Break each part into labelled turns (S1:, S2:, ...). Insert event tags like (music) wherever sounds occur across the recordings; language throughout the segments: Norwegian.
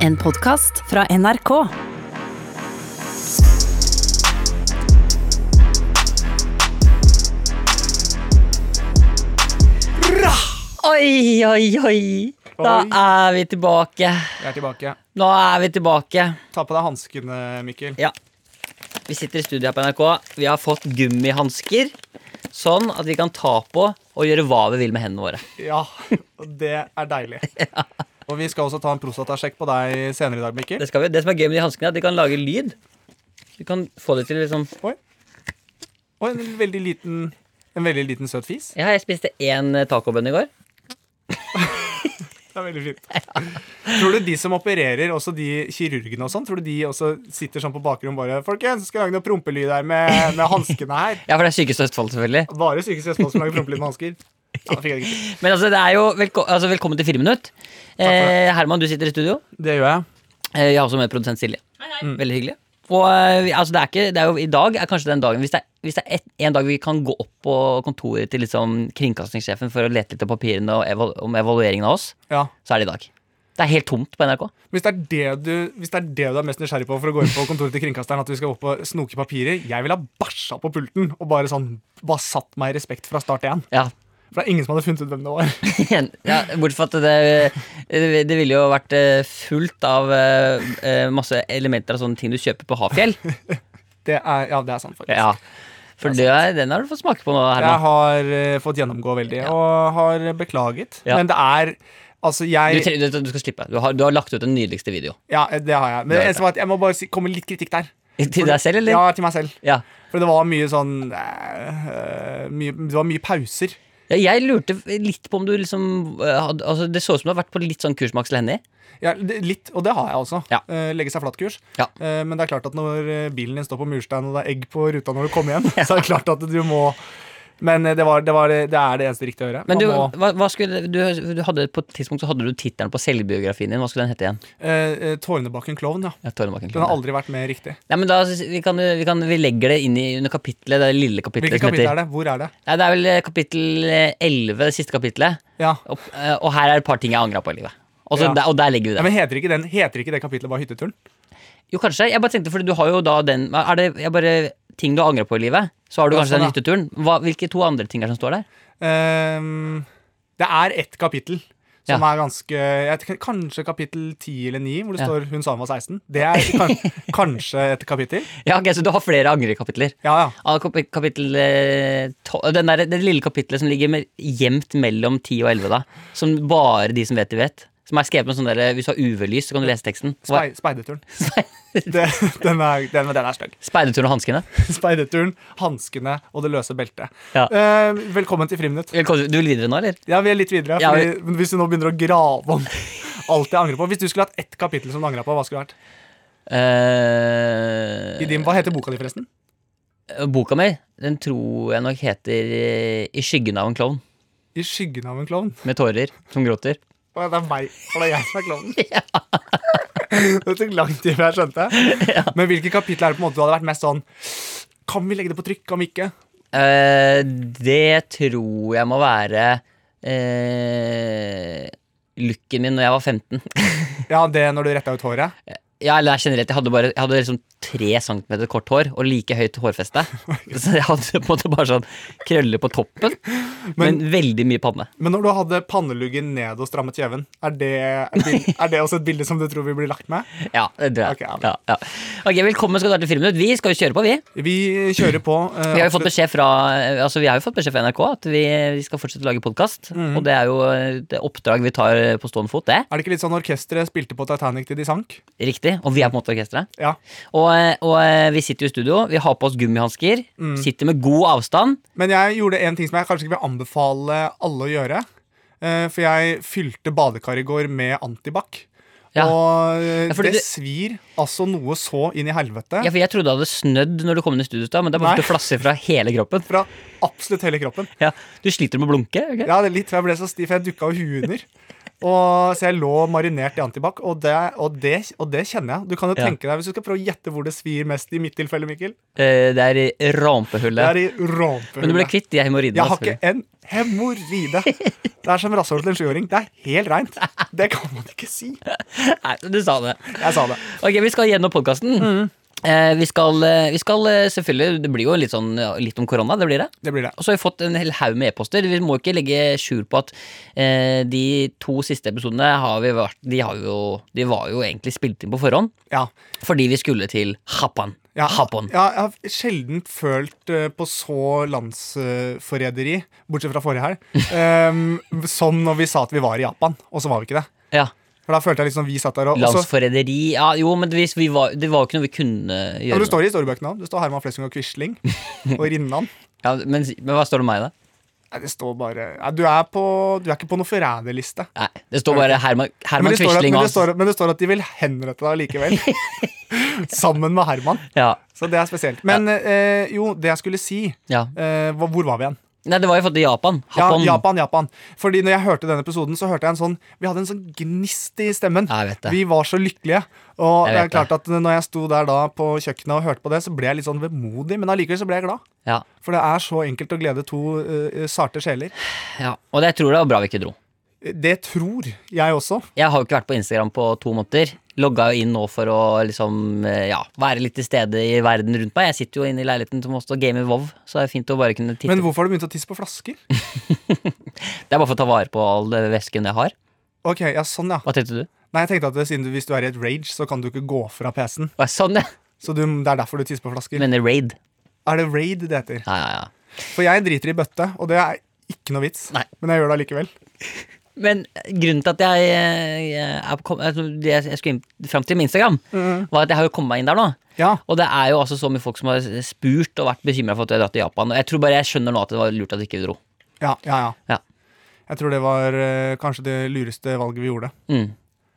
S1: En podkast fra NRK.
S2: Oi, oi, oi. Da
S3: Oi.
S2: er vi tilbake.
S3: Jeg er tilbake.
S2: Nå er vi tilbake.
S3: Ta på deg hanskene, Mikkel.
S2: Ja. Vi sitter i studio her på NRK. Vi har fått gummihansker, sånn at vi kan ta på og gjøre hva vi vil med hendene våre.
S3: Ja, og det er (laughs) deilig. Og vi skal også ta en prostatasjekk på deg senere i dag, Mikkel.
S2: Det, skal vi. det som er gøy med de hanskene, er at de kan lage lyd. Du kan få det til liksom
S3: Oi. Og en veldig liten, en veldig liten søt fis.
S2: Ja, jeg spiste én eh, tacobønne i går.
S3: Det er veldig fint. Tror du de som opererer, også de kirurgene og sånn, tror du de også sitter sånn på bakrommet bare Folkens, skal lage noe prompelyd her med, med hanskene her.
S2: Ja, for det er Sykehuset Østfold, selvfølgelig.
S3: Bare psykisk Østfold som lager prompelyd med hansker. Ja, det fikk jeg ikke til.
S2: Men altså, det er jo velko altså, velkommen til Friminutt. Eh, Herman, du sitter i studio.
S3: Det gjør jeg.
S2: Eh, Jeg har også med produsent Silje. Mm. Veldig hyggelig. Og eh, vi- altså, det er ikke, det er jo, I dag er kanskje den dagen Hvis det er, hvis det er et, en dag vi kan gå opp på kontoret til liksom kringkastingssjefen for å lete litt av papirene og eval om evalueringen av oss,
S3: Ja.
S2: så er det i dag. Det er helt tomt på NRK.
S3: Hvis det, er det du, hvis det er det du er mest nysgjerrig på for å gå inn på kontoret til kringkasteren, at vi skal opp og snoke i papirer Jeg ville ha bæsja på pulten og bare sånn Bare satt meg i respekt fra start igjen.
S2: Ja.
S3: For det er ingen som hadde funnet ut hvem det var. (laughs)
S2: ja bortsett fra at det, det det ville jo vært eh, fullt av eh, eh, masse elementer av sånne ting du kjøper på Hafjell.
S3: Det er, (laughs) ja, det er sant, faktisk.
S2: Ja. For det er, den har du fått smake på nå,
S3: Jeg
S2: Herman.
S3: har eh, fått gjennomgå veldig, og har beklaget.
S2: Ja.
S3: Men det er Altså,
S2: Du,
S3: jeg
S2: tre- du, du skal slippe. Du har, du har lagt ut den nydeligste video.
S3: Ja, det har jeg. Men
S2: Det har
S3: det eneste var at jeg må bare si, komme med litt kritikk der.
S2: Til deg selv, eller?
S3: (laughs) Ja, til meg selv.
S2: ja.
S3: For det var mye sånn eh, eh, mye, Det var mye pauser.
S2: Ja, jeg lurte litt på om du liksom eh, hadde, altså Det så ut som du har vært på litt sånn kurs med Aksel Hennie.
S3: Ja, det- litt, og det har jeg også.
S2: Ja.
S3: Eh, legge seg flatkurs.
S2: Ja.
S3: Eh, men det er klart at når eh, bilen din står på murstein, og det er egg på ruta når du kommer
S2: (laughs)
S3: hjem, så er det klart at du må Men eh, det, var, det, var, det er det eneste riktige å gjøre.
S2: Men du,
S3: Man må,
S2: hva, hva skulle, du, du hadde, på et tidspunkt så hadde du tittelen på selvbiografien din. Hva skulle den hete igjen?
S3: eh, eh, Tårnebakken klovn, ja.
S2: Ja, Tornebakken.
S3: Den har aldri vært mer riktig.
S2: Nei, men da, vi, kan, vi, kan, vi legger det inn i under kapitlet, det lille kapitlet
S3: Hvilket
S2: som
S3: kapittel
S2: heter
S3: er det? Hvor er det?
S2: Nei, Det er vel eh, kapittel eh, 11, det siste kapittelet.
S3: Ja.
S2: Og, eh, og her er et par ting jeg angra på i livet. Og så
S3: Ja.
S2: der, og der
S3: ja
S2: legger vi det.
S3: men heter ikke, den, heter ikke det kapitlet bare Hytteturen?
S2: Jo, kanskje. Jeg bare tenkte, fordi du har jo da den Er det jeg bare ting du angrer på i livet? Så har du
S3: Ja,
S2: kanskje
S3: sånn,
S2: den
S3: ja.
S2: hytteturen. Hva, hvilke to andre ting er det som står der?
S3: Ehm, det er ett kapittel. Som
S2: Ja.
S3: er ganske jeg tenker, Kanskje kapittel 10 eller 9, hvor det
S2: Ja.
S3: står 'hun sa hun var 16'. Det er
S2: (laughs)
S3: kan, kanskje et kapittel.
S2: Ja, ok, Så du har flere angrekapitler?
S3: Ja, ja.
S2: Av kap- kapittel eh, to- den der, Det lille kapitlet som ligger med, gjemt mellom 10 og 11, da. Som bare de som vet, de vet. Som er skrevet med sånn der Hvis du har UV-lys, så kan du lese teksten. Hva-
S3: Spei-
S2: (laughs)
S3: Speiderturen. Det, den, er, den, den er stygg.
S2: Speiderturen og hanskene.
S3: Speiderturen, hanskene og det løse beltet.
S2: Ja.
S3: Eh, velkommen til Friminutt.
S2: Velkommen- Du vil videre nå, eller?
S3: Ja, vi er litt videre.
S2: Ja,
S3: Fordi, men Hvis du nå begynner å grave om alt jeg angrer på Hvis du skulle hatt ett kapittel som du angra på, hva skulle det vært?
S2: Eh,
S3: I din, hva heter boka di, forresten?
S2: boka mi den tror jeg nok heter eh, I skyggen av en klovn.
S3: I skyggen av en klovn.
S2: Med tårer som gråter.
S3: Å, Det er meg, for det er jeg som er
S2: (laughs)
S3: klovnen. (laughs) Det tok lang tid før jeg skjønte. Men hvilke kapitler er det på en måte du hadde vært mest sånn Kan vi legge det på trykk? Kan vi ikke?
S2: Eh, det tror jeg må være eh, looken min når jeg var 15.
S3: Ja, det når du retta ut håret.
S2: (laughs) Ja, eller nei, generelt, jeg hadde, bare, jeg hadde liksom tre centimeter kort hår og like høyt
S3: (laughs)
S2: hårfeste. Så jeg hadde på en måte bare sånn krøller på toppen, men, veldig mye panne.
S3: Men når du hadde panneluggen ned og strammet kjeven, er det, et bil- er det også et bilde som du tror vi blir lagt med?
S2: Ja, det tror jeg.
S3: Ok, ja.
S2: ja, ja. ok, Velkommen skal du være til Friminutt. Vi skal jo kjøre på, vi.
S3: Vi kjører på. eh,
S2: (laughs) Vi har jo fått
S3: absolutt.
S2: beskjed fra, altså, vi har jo fått beskjed fra NRK at vi, vi skal fortsette å lage podkast.
S3: Mhm.
S2: Og det er jo et oppdrag vi tar på stående fot, det.
S3: Er det ikke litt sånn orkesteret spilte på Titanic til de sank?
S2: Riktig. Og vi er på en måte orkesteret.
S3: Ja.
S2: Og, og eh, vi sitter jo i studio, vi har på oss gummihansker,
S3: Mhm.
S2: sitter med god avstand.
S3: Men jeg gjorde en ting som jeg kanskje ikke vil anbefale alle å gjøre. eh, For jeg fylte badekaret i går med antibac.
S2: Ja.
S3: Og eh,
S2: Ja, fordi
S3: det
S2: du-
S3: svir altså noe så inn i helvete.
S2: Ja, for jeg trodde det hadde snødd når du kom inn i studio, i stad, men det er bare
S3: Nei.
S2: at du flasser fra hele kroppen.
S3: Fra absolutt hele kroppen.
S2: Ja, du sliter med å blunke? ok?
S3: Ja, det er litt, for Jeg ble så stiv, for jeg dukka jo huet under. Og, så jeg lå marinert i antibac, og det, og, det, og det kjenner jeg. Du kan jo
S2: Ja.
S3: tenke deg, Hvis du skal prøve å gjette hvor det svir mest i mitt tilfelle, Mikkel
S2: Eh, Det er i
S3: Det er
S2: rampehullet.
S3: i
S2: Men du ble
S3: rumpehullet.
S2: kvitt de hemoroidene.
S3: Jeg har ikke en hemoroide. Det er som rasshølet til en sjuåring. Det er helt reint. Det kan man ikke si.
S2: selvfølgelig. Nei, du sa det.
S3: Jeg sa det.
S2: Ok, vi skal gjennom podkasten.
S3: Mhm.
S2: Eh, vi skal, eh, vi skal eh, selvfølgelig Det blir jo litt, sånn, ja, litt om korona, det blir det.
S3: Det blir det.
S2: Og så har vi fått en hel haug med e-poster. Vi må ikke legge skjul på at eh, de to siste episodene har vi vært, de, har jo, de var jo egentlig spilt inn på forhånd
S3: Ja.
S2: fordi vi skulle til Hapan.
S3: Ja,
S2: Hapan.
S3: ja, jeg har sjelden følt eh, på så landsforræderi, bortsett fra forrige helg, (laughs) eh, som når vi sa at vi var i Japan, og så var vi ikke det.
S2: Ja.
S3: For da følte jeg liksom vi satt der og og så-
S2: Landsforræderi ja, Jo, men hvis vi var, det var jo ikke noe vi kunne
S3: Ja, men
S2: gjøre.
S3: det står i historiebøkene òg. Det står Herman Flesvig og Quisling. Og Rinnan.
S2: noe. Ja, men, men hva står det om meg, da?
S3: Nei, det står bare Nei, du, er på, du er ikke på noen forræderliste.
S2: Nei, Det står bare Herman,
S3: Men,
S2: Herman
S3: det står at- men,
S2: Quisling og
S3: det
S2: hans
S3: står- men det står at de vil henrette deg
S2: (laughs)
S3: likevel. Sammen med Herman.
S2: ja,
S3: Så det er spesielt. Men eh, jo, det jeg skulle si
S2: ja.
S3: eh, hva- Hvor var vi igjen?
S2: Nei, det var jo fått i Japan.
S3: Ja,
S2: Hapan.
S3: Japan, Japan. Fordi når jeg hørte den episoden, så hørte jeg en sånn Vi hadde en sånn gnist i stemmen.
S2: Jeg vet det.
S3: Vi var så lykkelige. Og
S2: Jeg
S3: det er
S2: vet det.
S3: klart at når jeg sto der da på kjøkkenet og hørte på det, så ble jeg litt sånn vemodig, men allikevel så ble jeg glad.
S2: Ja,
S3: For det er så enkelt å glede to eh, sarte sjeler.
S2: ja. Og det jeg tror det var bra vi ikke dro.
S3: Det tror jeg også.
S2: Jeg har jo ikke vært på Instagram på to måneder. Logga jo inn nå for å liksom, eh, ja, være litt til stede i verden rundt meg. Jeg sitter jo inne i leiligheten som også gamer WoW, så det er fint å bare kunne titte.
S3: Men hvorfor har du begynt å tisse på flasker?
S2: det er bare for å ta vare på all det væsken jeg har.
S3: Ok, ja, sånn ja
S2: Hva tenkte du?
S3: Nei, jeg tenkte at siden du, Hvis du er i et rage, så kan du ikke gå fra PC-en.
S2: Å, sånn, ja.
S3: Så du, det er derfor du tisser på
S2: Du
S3: flasker.
S2: mener raid?
S3: Er det raid det heter?
S2: Ja, ja, ja.
S3: For jeg driter i bøtte, og det er ikke noe vits.
S2: Nei.
S3: Men jeg gjør det allikevel.
S2: Men grunnen til at jeg, eh, er på, kom- altså, det jeg skulle inn- fram til med Instagram, var at jeg har jo kommet meg inn der nå.
S3: Ja.
S2: Og det er jo altså så mye folk som har spurt og vært bekymra for at jeg har dratt til Japan. Og jeg tror bare jeg skjønner nå at det var lurt at vi ikke dro.
S3: Ja, ja, ja.
S2: Ja.
S3: Jeg tror det var eh, kanskje det lureste valget vi gjorde.
S2: Mm.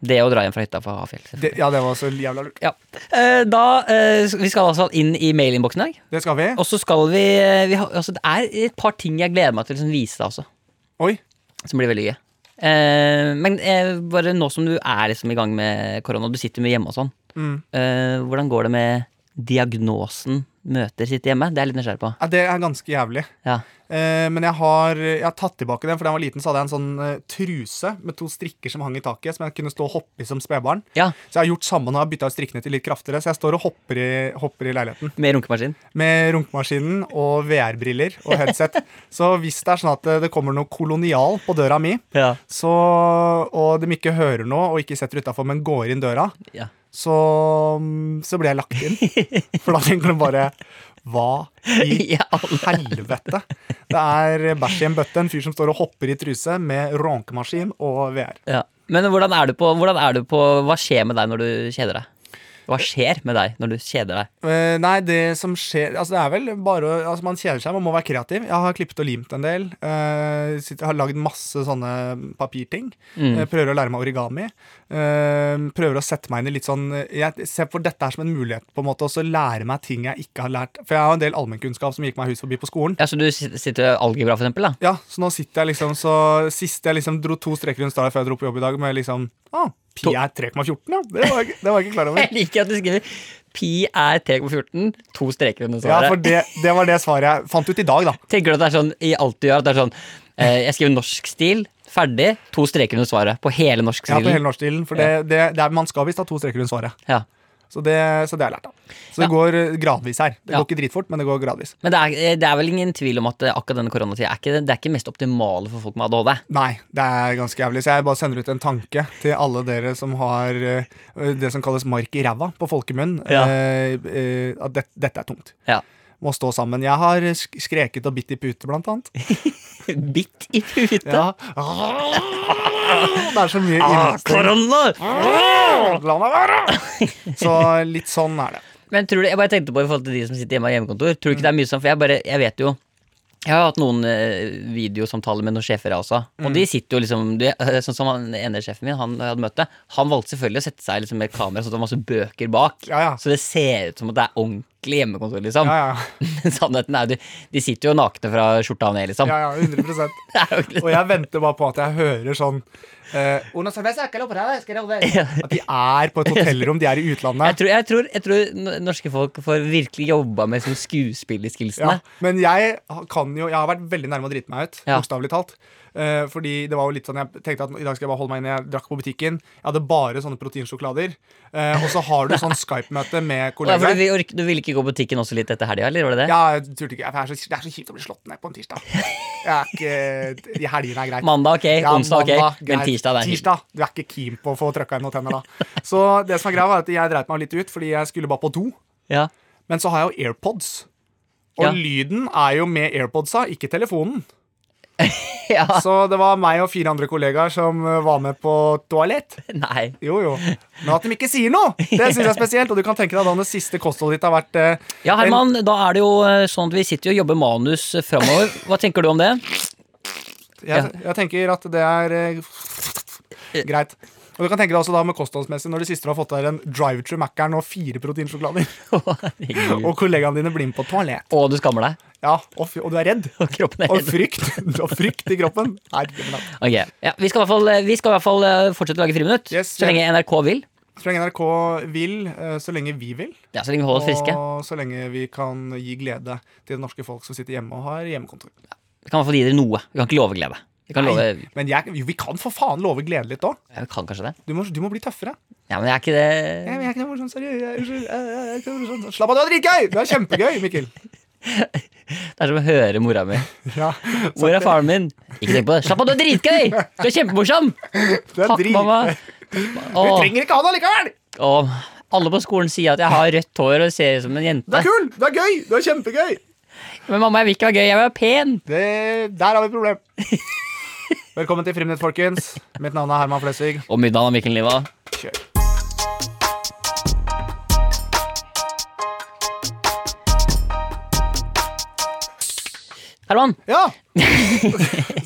S2: Det å dra hjem fra hytta på Hafjell. selvfølgelig.
S3: Det, ja, det var så jævla lurt.
S2: Ja. Eh, Da, eh, vi skal altså inn i mailinnboksen i dag.
S3: Det skal vi.
S2: Og så skal vi, eh, vi har, altså, Det er et par ting jeg gleder meg til å liksom vise deg også,
S3: Oi.
S2: som blir veldig gøy. Eh, men eh, bare nå som du er liksom i gang med korona, du sitter mye hjemme og sånn.
S3: Mm.
S2: Eh, hvordan går det med diagnosen møter sitt hjemme? Det er jeg litt nysgjerrig på.
S3: Ja, det er ganske jævlig.
S2: Ja.
S3: Eh, men jeg har, jeg har tatt tilbake den, for da jeg var liten, så hadde jeg en sånn eh, truse med to strikker som hang i taket, som jeg kunne stå og hoppe i som spedbarn.
S2: ja,
S3: Så jeg har gjort samme nå, jeg har bytta ut strikkene til litt kraftigere, så jeg står og hopper i, hopper i leiligheten.
S2: Med runkemaskin.
S3: Med runkemaskinen og VR-briller og headset. så hvis det er sånn at eh, det kommer noe kolonial på døra mi,
S2: Ja.
S3: så, og de ikke hører noe og ikke setter utafor, men går inn døra,
S2: Ja.
S3: så, mm, så blir jeg lagt inn. For da tenker de bare Hva i
S2: I alle-
S3: helvete? Det er bæsj i en bøtte, en fyr som står og hopper i truse med ronkemaskin og VR.
S2: Ja. Men hvordan er, du på, hvordan er du på Hva skjer med deg når du kjeder deg? Hva skjer med deg når du kjeder deg?
S3: Eh, nei, det som skjer Altså, det er vel bare å- altså, Man kjeder seg, man må være kreativ. Jeg har klippet og limt en del. eh, sitter, har lagd masse sånne papirting. Eh, prøver å lære meg origami. Eh, prøver å sette meg inn i litt sånn Jeg ser på dette her som en mulighet, på en måte, også lære meg ting jeg ikke har lært. For jeg har en del allmennkunnskap som gikk meg hus forbi på skolen.
S2: Ja, så Altså, du sit- sitter i algebra, for eksempel? Da.
S3: Ja, så nå sitter jeg liksom så Sist jeg liksom dro to streker rundt stala før jeg dro på jobb i dag, med liksom ah, Pi er 3,14, ja. Det var, jeg ikke- det var jeg ikke klar over.
S2: (laughs) Jeg liker at du skriver pi er 3,14, to streker under
S3: Ja,
S2: svaret.
S3: for det, det var det svaret jeg fant ut i dag, da.
S2: Tenker du at det er sånn i alt du gjør, at det er sånn eh, Jeg skriver norsk stil, ferdig, to streker under svaret. På hele norsk
S3: Ja, på hele
S2: stilen.
S3: norskstilen. For det, det, det er, man skal visst ha to streker rundt svaret.
S2: Ja.
S3: Så det, så det har jeg lært av. Så det
S2: Ja.
S3: går eh, gradvis her. Det
S2: Ja.
S3: går ikke dritfort, men det går gradvis.
S2: Men det er, eh, det er vel ingen tvil om at eh, akkurat denne koronatida er ikke det, det er ikke mest optimale for folk med ADHD.
S3: Nei, det er ganske jævlig. Så jeg bare sender ut en tanke til alle dere som har eh, det som kalles mark i ræva på folkemunn.
S2: Ja.
S3: eh, eh, At det, dette er tungt.
S2: Ja. (laughs)
S3: Må stå sammen. Jeg har sk- skreket og bitt i pute, blant annet.
S2: Bitt i puta.
S3: Ja. Det er så mye
S2: Ah,
S3: innesteng.
S2: korona!
S3: La meg være! Så litt sånn er det.
S2: Men tror du, jeg bare tenkte på i forhold til de som sitter hjemme av hjemmekontor. Tror du ikke det er mye sånn, for jeg bare, jeg vet jo Jeg har hatt noen eh, videosamtaler med noen sjefer jeg også. Og de
S3: Mm.
S2: sitter jo liksom de, eh, Sånn som han ene sjefen min, han jeg hadde møte, han valgte selvfølgelig å sette seg liksom med et kamera sånn at det var masse bøker bak.
S3: Ja, ja.
S2: Så det ser ut som at det er ordentlig skikkelig hjemmekontor, liksom.
S3: Ja, ja,
S2: (laughs) Men sannheten er jo de, de sitter jo nakne fra skjorta og ned, liksom.
S3: ja, ja 100
S2: (laughs) Det er jo ikke
S3: Og jeg venter bare på at jeg hører sånn eh, Una cerveza, que lo pruebe, es que lo ves. At de er på et hotellrom, de er i
S2: Jeg (laughs)
S3: utlandet.
S2: tror, jeg, tror, jeg tror n- norske folk får virkelig jobba med sånn skuespillerskillsene.
S3: Ja, men jeg kan jo Jeg har vært veldig nærme å drite meg ut,
S2: Ja.
S3: bokstavelig talt. Eh, fordi det var jo litt sånn Jeg tenkte at i dag skal jeg bare holde meg inne. Jeg drakk på butikken. Jeg hadde bare sånne proteinsjokolader. Eh, og så har du sånn Skype-møte med
S2: Og derfor,
S3: kollegaer.
S2: du, ork- du ville ikke gå på butikken også litt etter helga, eller var det det?
S3: Ja, jeg turte ikke. Jeg er så, det er så kjipt å bli slått ned på en tirsdag. Jeg er ikke, i helgene er greit.
S2: Mandag ok,
S3: Ja,
S2: onsdag ok,
S3: mandag,
S2: men
S3: greit.
S2: tirsdag det er tirsdag.
S3: Tirsdag, Du er ikke keen på å få trøkka inn noen tenner da. Så det som er greia, var at jeg dreit meg litt ut, fordi jeg skulle bare på do.
S2: Ja.
S3: Men så har jeg jo AirPods. Og
S2: Ja.
S3: lyden er jo med AirPodsa, ikke telefonen.
S2: (laughs) ja.
S3: Så det var meg og fire andre kollegaer som eh, var med på toalett.
S2: Nei.
S3: Jo, jo. Men at de ikke sier noe, det syns jeg er spesielt. Og du kan tenke deg da når siste kostholdet ditt har vært eh,
S2: Ja, Herman, da er det jo eh, sånn at vi sitter jo og jobber manus eh, framover. Hva tenker du om det? (laughs)
S3: Jeg, jeg tenker at det er eh, greit. Og du kan tenke deg også da med kostholdsmessig Når det siste du har fått deg en drive-through Mac-eren og fire proteinsjokolader,
S2: Herregud.
S3: og kollegaene dine blir med på toalett,
S2: Å, du skammer deg? (laughs)
S3: ja, og, fy- og du er redd,
S2: Og kroppen er
S3: og
S2: redd?
S3: frykt, (laughs) og frykt i kroppen Nei, det er ikke bra.
S2: Ok, ja, vi, skal i hvert fall, vi skal i hvert fall eh, fortsette å lage Friminutt
S3: Yes,
S2: så lenge NRK vil.
S3: Så lenge NRK vil, eh, så lenge vi vil,
S2: Ja, Så lenge vi holder oss friske.
S3: og så lenge vi kan gi glede til det norske folk som sitter hjemme og har hjemmekontor.
S2: Vi kan i hvert fall gi dere noe. Vi kan ikke love glede. Vi kan, love,
S3: Nei, men jeg, jo, vi kan for faen love glede litt òg.
S2: ja, vi kan kanskje det.
S3: Du, må- du må bli tøffere.
S2: Ja, men jeg er ikke det
S3: Jeg, jeg er ikke noe morsom, sorry. Jeg, unnskyld. Jeg, jeg, jeg er ikke noe morsom. Slapp av, du er dritgøy! Du er kjempegøy, Mikkel.
S2: Det er som å høre mora mi.
S3: Ja,
S2: Hvor er faren min? Ikke tenk på det. Slapp av, du er dritgøy! Du er kjempemorsom!
S3: (laughs) du er
S2: Takk,
S3: drit.
S2: mamma.
S3: Du
S2: Åh,
S3: trenger ikke ha det likevel!
S2: åh. Alle på skolen sier at jeg har rødt hår og ser ut som en
S3: Du
S2: jente.
S3: er kul! Du er gøy! Du er kjempegøy!
S2: Men mamma, jeg vil ikke være gøy, jeg vil være pen.
S3: Det, der har vi et problem.
S2: (laughs)
S3: Velkommen til Friminutt, folkens. Mitt navn er Herman Flesvig.
S2: Og middagen av Mikkel Niva.
S3: Kjør.
S2: Herman.
S3: Ja!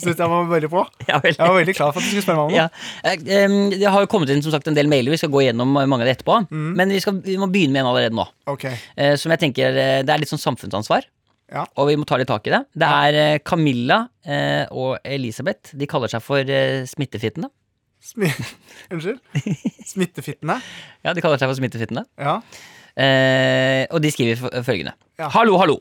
S3: Syns jeg var veldig på.
S2: Ja vel.
S3: Jeg var veldig klar for at du skulle spørre meg om noe.
S2: Ja. Eh, em, Det har jo kommet inn som sagt en del mailer. Vi skal gå gjennom eh, mange av det etterpå. Men vi, skal, vi må begynne med en allerede nå.
S3: Ok.
S2: eh, Som jeg tenker eh, Det er litt sånn samfunnsansvar.
S3: Ja.
S2: Og vi må ta litt tak i det. Det er eh, Camilla eh, og Elisabeth. De kaller seg for eh, smittefittene.
S3: Smi (laughs) Unnskyld? Smittefittene.
S2: Ja, de kaller seg for smittefittene.
S3: Ja.
S2: Eh, og de skriver f- følgende.
S3: Ja.
S2: Hallo, hallo.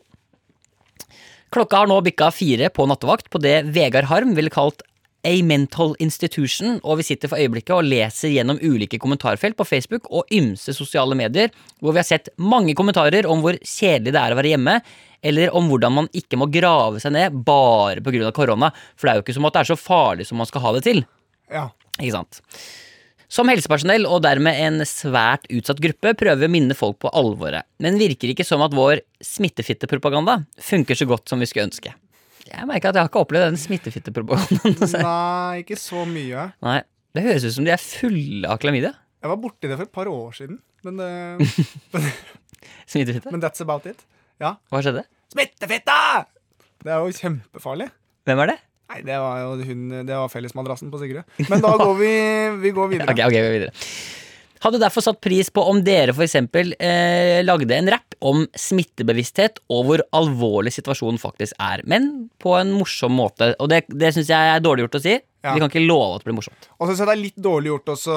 S2: Klokka har nå bikka fire på nattevakt på det Vegard Harm ville kalt A mental institution, og vi sitter for øyeblikket og leser gjennom ulike kommentarfelt på Facebook og ymse sosiale medier, hvor vi har sett mange kommentarer om hvor kjedelig det er å være hjemme, eller om hvordan man ikke må grave seg ned bare pga. korona, for det er jo ikke som at det er så farlig som man skal ha det til.
S3: ja.
S2: Ikke sant? Som helsepersonell, og dermed en svært utsatt gruppe, prøver vi å minne folk på alvoret. Men virker ikke som at vår smittefittepropaganda funker så godt som vi skulle ønske. Jeg merker at jeg har ikke opplevd den smittefittepropagandaen. (laughs)
S3: Nei, ikke så mye.
S2: Nei, Det høres ut som de er fulle av klamydia.
S3: Jeg var borti det for et par år siden, men, eh,
S2: Smittefitte.
S3: men that's about it. Ja.
S2: Hva skjedde?
S3: Smittefitte! Det er jo kjempefarlig.
S2: Hvem er det?
S3: Nei, det var jo hun Det var fellesmadrassen på Sigrid. Men da går vi, vi går videre.
S2: (laughs) Ok, ok, vi går videre. Hadde derfor satt pris på om dere for eksempel eh, lagde en rapp om smittebevissthet og hvor alvorlig situasjonen faktisk er, men på en morsom måte. Og det, det syns jeg er dårlig gjort å si.
S3: Ja.
S2: Vi kan ikke love at det blir morsomt.
S3: Og så synes jeg det er litt dårlig gjort også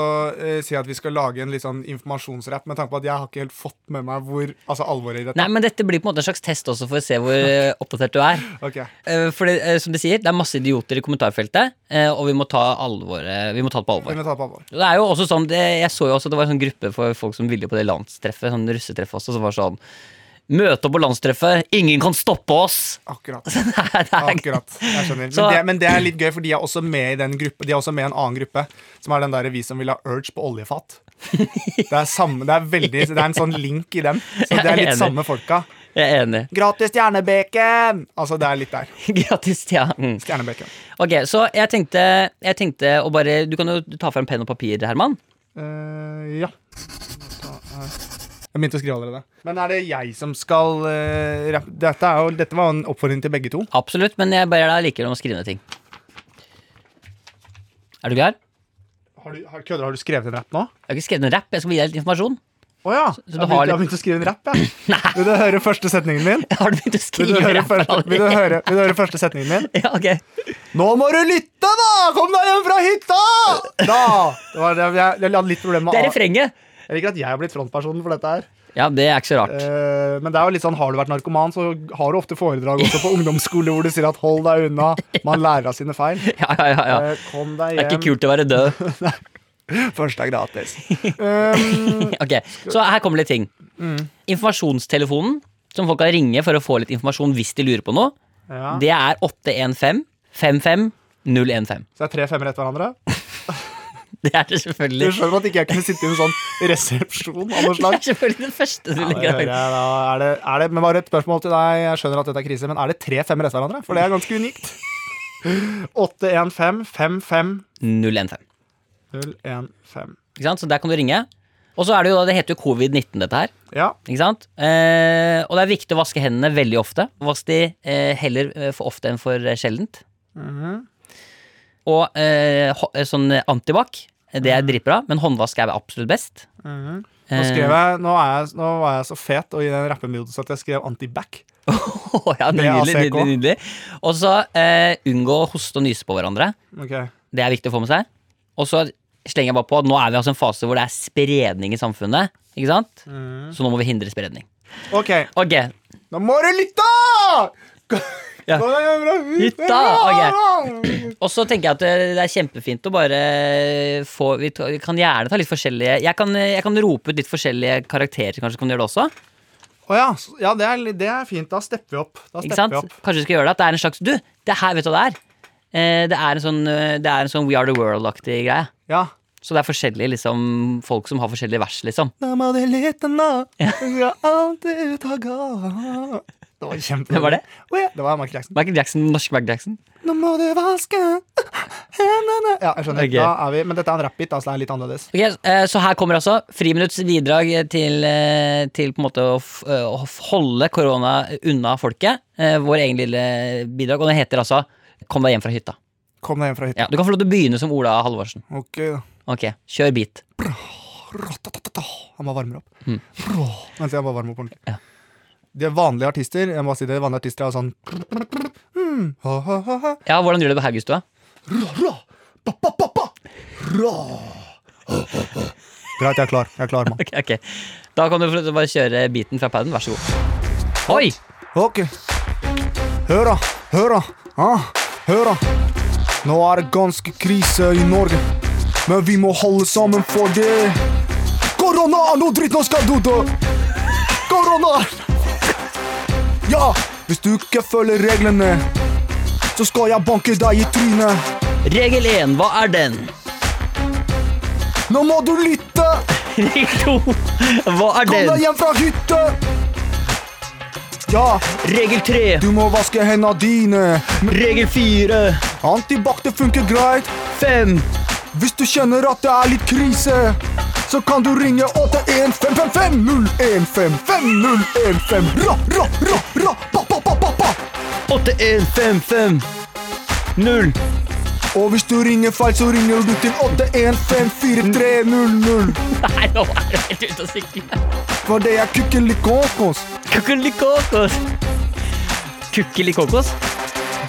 S3: eh, si at vi skal lage en litt sånn informasjonsrapp, med tanke på at jeg har ikke helt fått med meg hvor Altså alvoret i dette.
S2: Nei, men dette blir på en måte en slags test også for å se hvor eh, oppdatert du er.
S3: Ok.
S2: Eh, For det, eh, som de sier, det er masse idioter i kommentarfeltet, eh, og vi må ta, alvoret, vi må ta det på
S3: Vi
S2: alvor.
S3: må ta det på alvor.
S2: Det er jo også sånn, det, Jeg så jo også det var en sånn gruppe for folk som ville på det landstreffet, sånn russetreffet også, som var sånn Møte opp på landstreffet, ingen kan stoppe oss! (laughs)
S3: Akkurat.
S2: Nei, det er,
S3: Akkurat. Jeg skjønner. Men
S2: Så-
S3: det, men det er litt gøy, for de er også med i den gruppe De er også med i en annen gruppe, som er den der vi som vil ha urge på
S2: (laughs)
S3: oljefat. Det er, samme, det er, veldig, det er en sånn link i dem. Så det er
S2: Jeg er
S3: litt
S2: enig.
S3: samme folka.
S2: jeg er enig. (laughs)
S3: Gratis stjernebacon! Altså, det er litt der.
S2: Gratis, ja. Mm.
S3: Stjernebacon.
S2: Ok, så jeg tenkte, jeg tenkte å bare Du kan jo ta fram penn og papir, Herman.
S3: Eh, ja. Jeg begynte å skrive allerede. Men er det jeg som skal eh, rappe? Dette, er jo, dette var en oppfordring til begge to.
S2: Absolutt, men jeg ber deg likevel om å skrive ned ting. Er du klar?
S3: Har du, har, kødder, har du skrevet en rapp nå?
S2: Jeg har ikke skrevet en rapp, jeg skal gi deg litt informasjon. (laughs)
S3: Å Å ja.
S2: du
S3: Jeg har
S2: har
S3: begynt- jeg har begynt å skrive en
S2: (laughs)
S3: rapp, jeg. Vil du høre første setningen min?
S2: Har du begynt å
S3: Vil du
S2: skrive
S3: høre,
S2: rapp
S3: første, vil du
S2: allerede?
S3: høre, vil du høre første setningen min?
S2: (laughs) Ja, ok.
S3: Nå må du lytte, da! Kom deg hjem fra hytta! Da! Det var, jeg, jeg, jeg hadde litt problemer
S2: Det er
S3: med A.
S2: refrenget.
S3: Jeg liker at jeg har blitt frontpersonen for dette her.
S2: Ja, det er ikke så rart.
S3: Eh, men det er jo litt sånn, har du vært narkoman, så har du ofte foredrag også
S2: (laughs)
S3: på ungdomsskole hvor du sier at 'hold deg unna', man lærer av sine feil.
S2: (laughs) Ja, ja, ja, ja.
S3: Eh, kom deg
S2: Det er ikke
S3: hjem,
S2: kult å være død.
S3: først er gratis. (laughs) Um,
S2: (laughs) Ok, Så her kommer det ting. Informasjonstelefonen, som folk kan ringe for å få litt informasjon hvis de lurer på noe,
S3: ja.
S2: det er 815 55 015.
S3: Så det er tre femmer etter hverandre.
S2: (laughs) Det er det
S3: Du
S2: selvfølgelig.
S3: skjønner at ikke jeg kunne sitte i en sånn resepsjon av
S2: (laughs)
S3: noe
S2: Det
S3: slag.
S2: er selvfølgelig den første du
S3: Ja, det
S2: ligger
S3: hører jeg
S2: der.
S3: da. Er det, er det, men bare et spørsmål til deg. Jeg skjønner at dette er krise, men er det tre femmer etter hverandre? For det er ganske unikt.
S2: (laughs)
S3: 815 55
S2: 015.
S3: 015.
S2: Ikke sant? Så der kan du ringe. Og så er det jo da, det heter jo covid-19 dette her.
S3: Ja.
S2: Ikke sant? Eh, og det er viktig å vaske hendene veldig ofte. Vask de eh, heller eh, for ofte enn for eh, sjeldent.
S3: Mhm.
S2: Og eh, hå- eh, sånn eh, antibac, det
S3: Mhm.
S2: er dritbra, men håndvask er absolutt best. Eh.
S3: Nå, skrev jeg, nå, er jeg, nå var jeg så fet og i den rappemodus at jeg skrev antibac.
S2: (laughs) Å, ja,
S3: Det er
S2: nydelig,
S3: ACK.
S2: nydelig, nydelig. Og så eh, unngå å hoste og nyse på hverandre.
S3: Ok.
S2: Det er viktig å få med seg. Og så slenger jeg bare på at nå er vi altså i en fase hvor det er spredning i samfunnet. Ikke sant?
S3: Mm.
S2: Så nå må vi hindre spredning.
S3: Ok,
S2: Ok,
S3: nå må du lytte!
S2: Ja.
S3: Nå er jeg bra ut.
S2: Lytte, ok. Og så tenker jeg at eh, det- det er kjempefint å bare eh, få Vi ta- vi kan gjerne ta litt forskjellige Jeg kan, eh, jeg kan rope ut litt forskjellige karakterer, kanskje kan du gjøre det også?
S3: Å ja, så- ja det, er, det er fint. Da stepper vi opp. Da
S2: Ikke
S3: stepper
S2: sant?
S3: vi opp.
S2: Kanskje du skal gjøre det at det er en slags Du, det her, vet du hva det er? Eh, Det er en sånn, eh, det er en sånn We Are The World-aktig greie.
S3: Ja.
S2: Så det er forskjellige liksom, folk som har forskjellige vers, liksom.
S3: Da må du lytte nå, skal alltid ut og gå. Det var kjempebra.
S2: Hvem var det?
S3: Å ja, det var Michael Jackson.
S2: Michael Jackson, norsk Michael Jackson.
S3: Nå må du vaske hendene Ja, jeg skjønner.
S2: Ok.
S3: Da er vi, men dette er en rap-bit, altså det er litt annerledes.
S2: Ok, eh, Så her kommer altså friminutts bidrag til, eh, til på en måte å, f eh, å f- holde korona unna folket. Eh, Vår egen lille bidrag. Og den heter altså Kom deg hjem fra hytta.
S3: Kom deg hjem fra hytta.
S2: Ja, du kan få lov til å begynne som Ola Halvorsen.
S3: Ok,
S2: Ok, Kjør beat.
S3: Rotatatata. Han bare varmer opp. Rå. Mens jeg bare varmer opp ordentlig.
S2: Ja.
S3: De vanlige artister jeg må si det, vanlige artister er sånn mm, ha, ha, ha, ha.
S2: Ja, Hvordan gjør du det på Haugenstua?
S3: Rå, rå. Ba, ba, ba, ba. Rå. Greit, jeg er klar. Jeg er klar, mann.
S2: Ok, ok Da kan du få lov til å bare kjøre beaten fra paden. Vær så god. Oi!
S3: Ok. Hør da, hør da, ah, hør da. Nå er det ganske krise i Norge, men vi må holde sammen for det. Korona er noe dritt, nå skal du dø. Korona! Ja, hvis du ikke følger reglene, så skal jeg banke deg i trynet.
S2: Regel én, hva er den?
S3: Nå må du lytte,
S2: (laughs) Regel to, hva er
S3: kom deg
S2: den?
S3: hjem fra hytte. Ja,
S2: Regel tre,
S3: du må vaske hendene dine.
S2: regel fire,
S3: Antibac, det funker greit.
S2: fem.
S3: Hvis du kjenner at det er litt krise, så kan du ringe 8155550155015. Ra, ra, ra, ra, pa, pa, pa, pa, pa.
S2: 8155 0
S3: Og hvis du ringer feil, så ringer du til 81543000.
S2: Nei, nå er du helt ute å sykle.
S3: For det er kukkelikokos.
S2: Kukkelikokos. Kukkelikokos?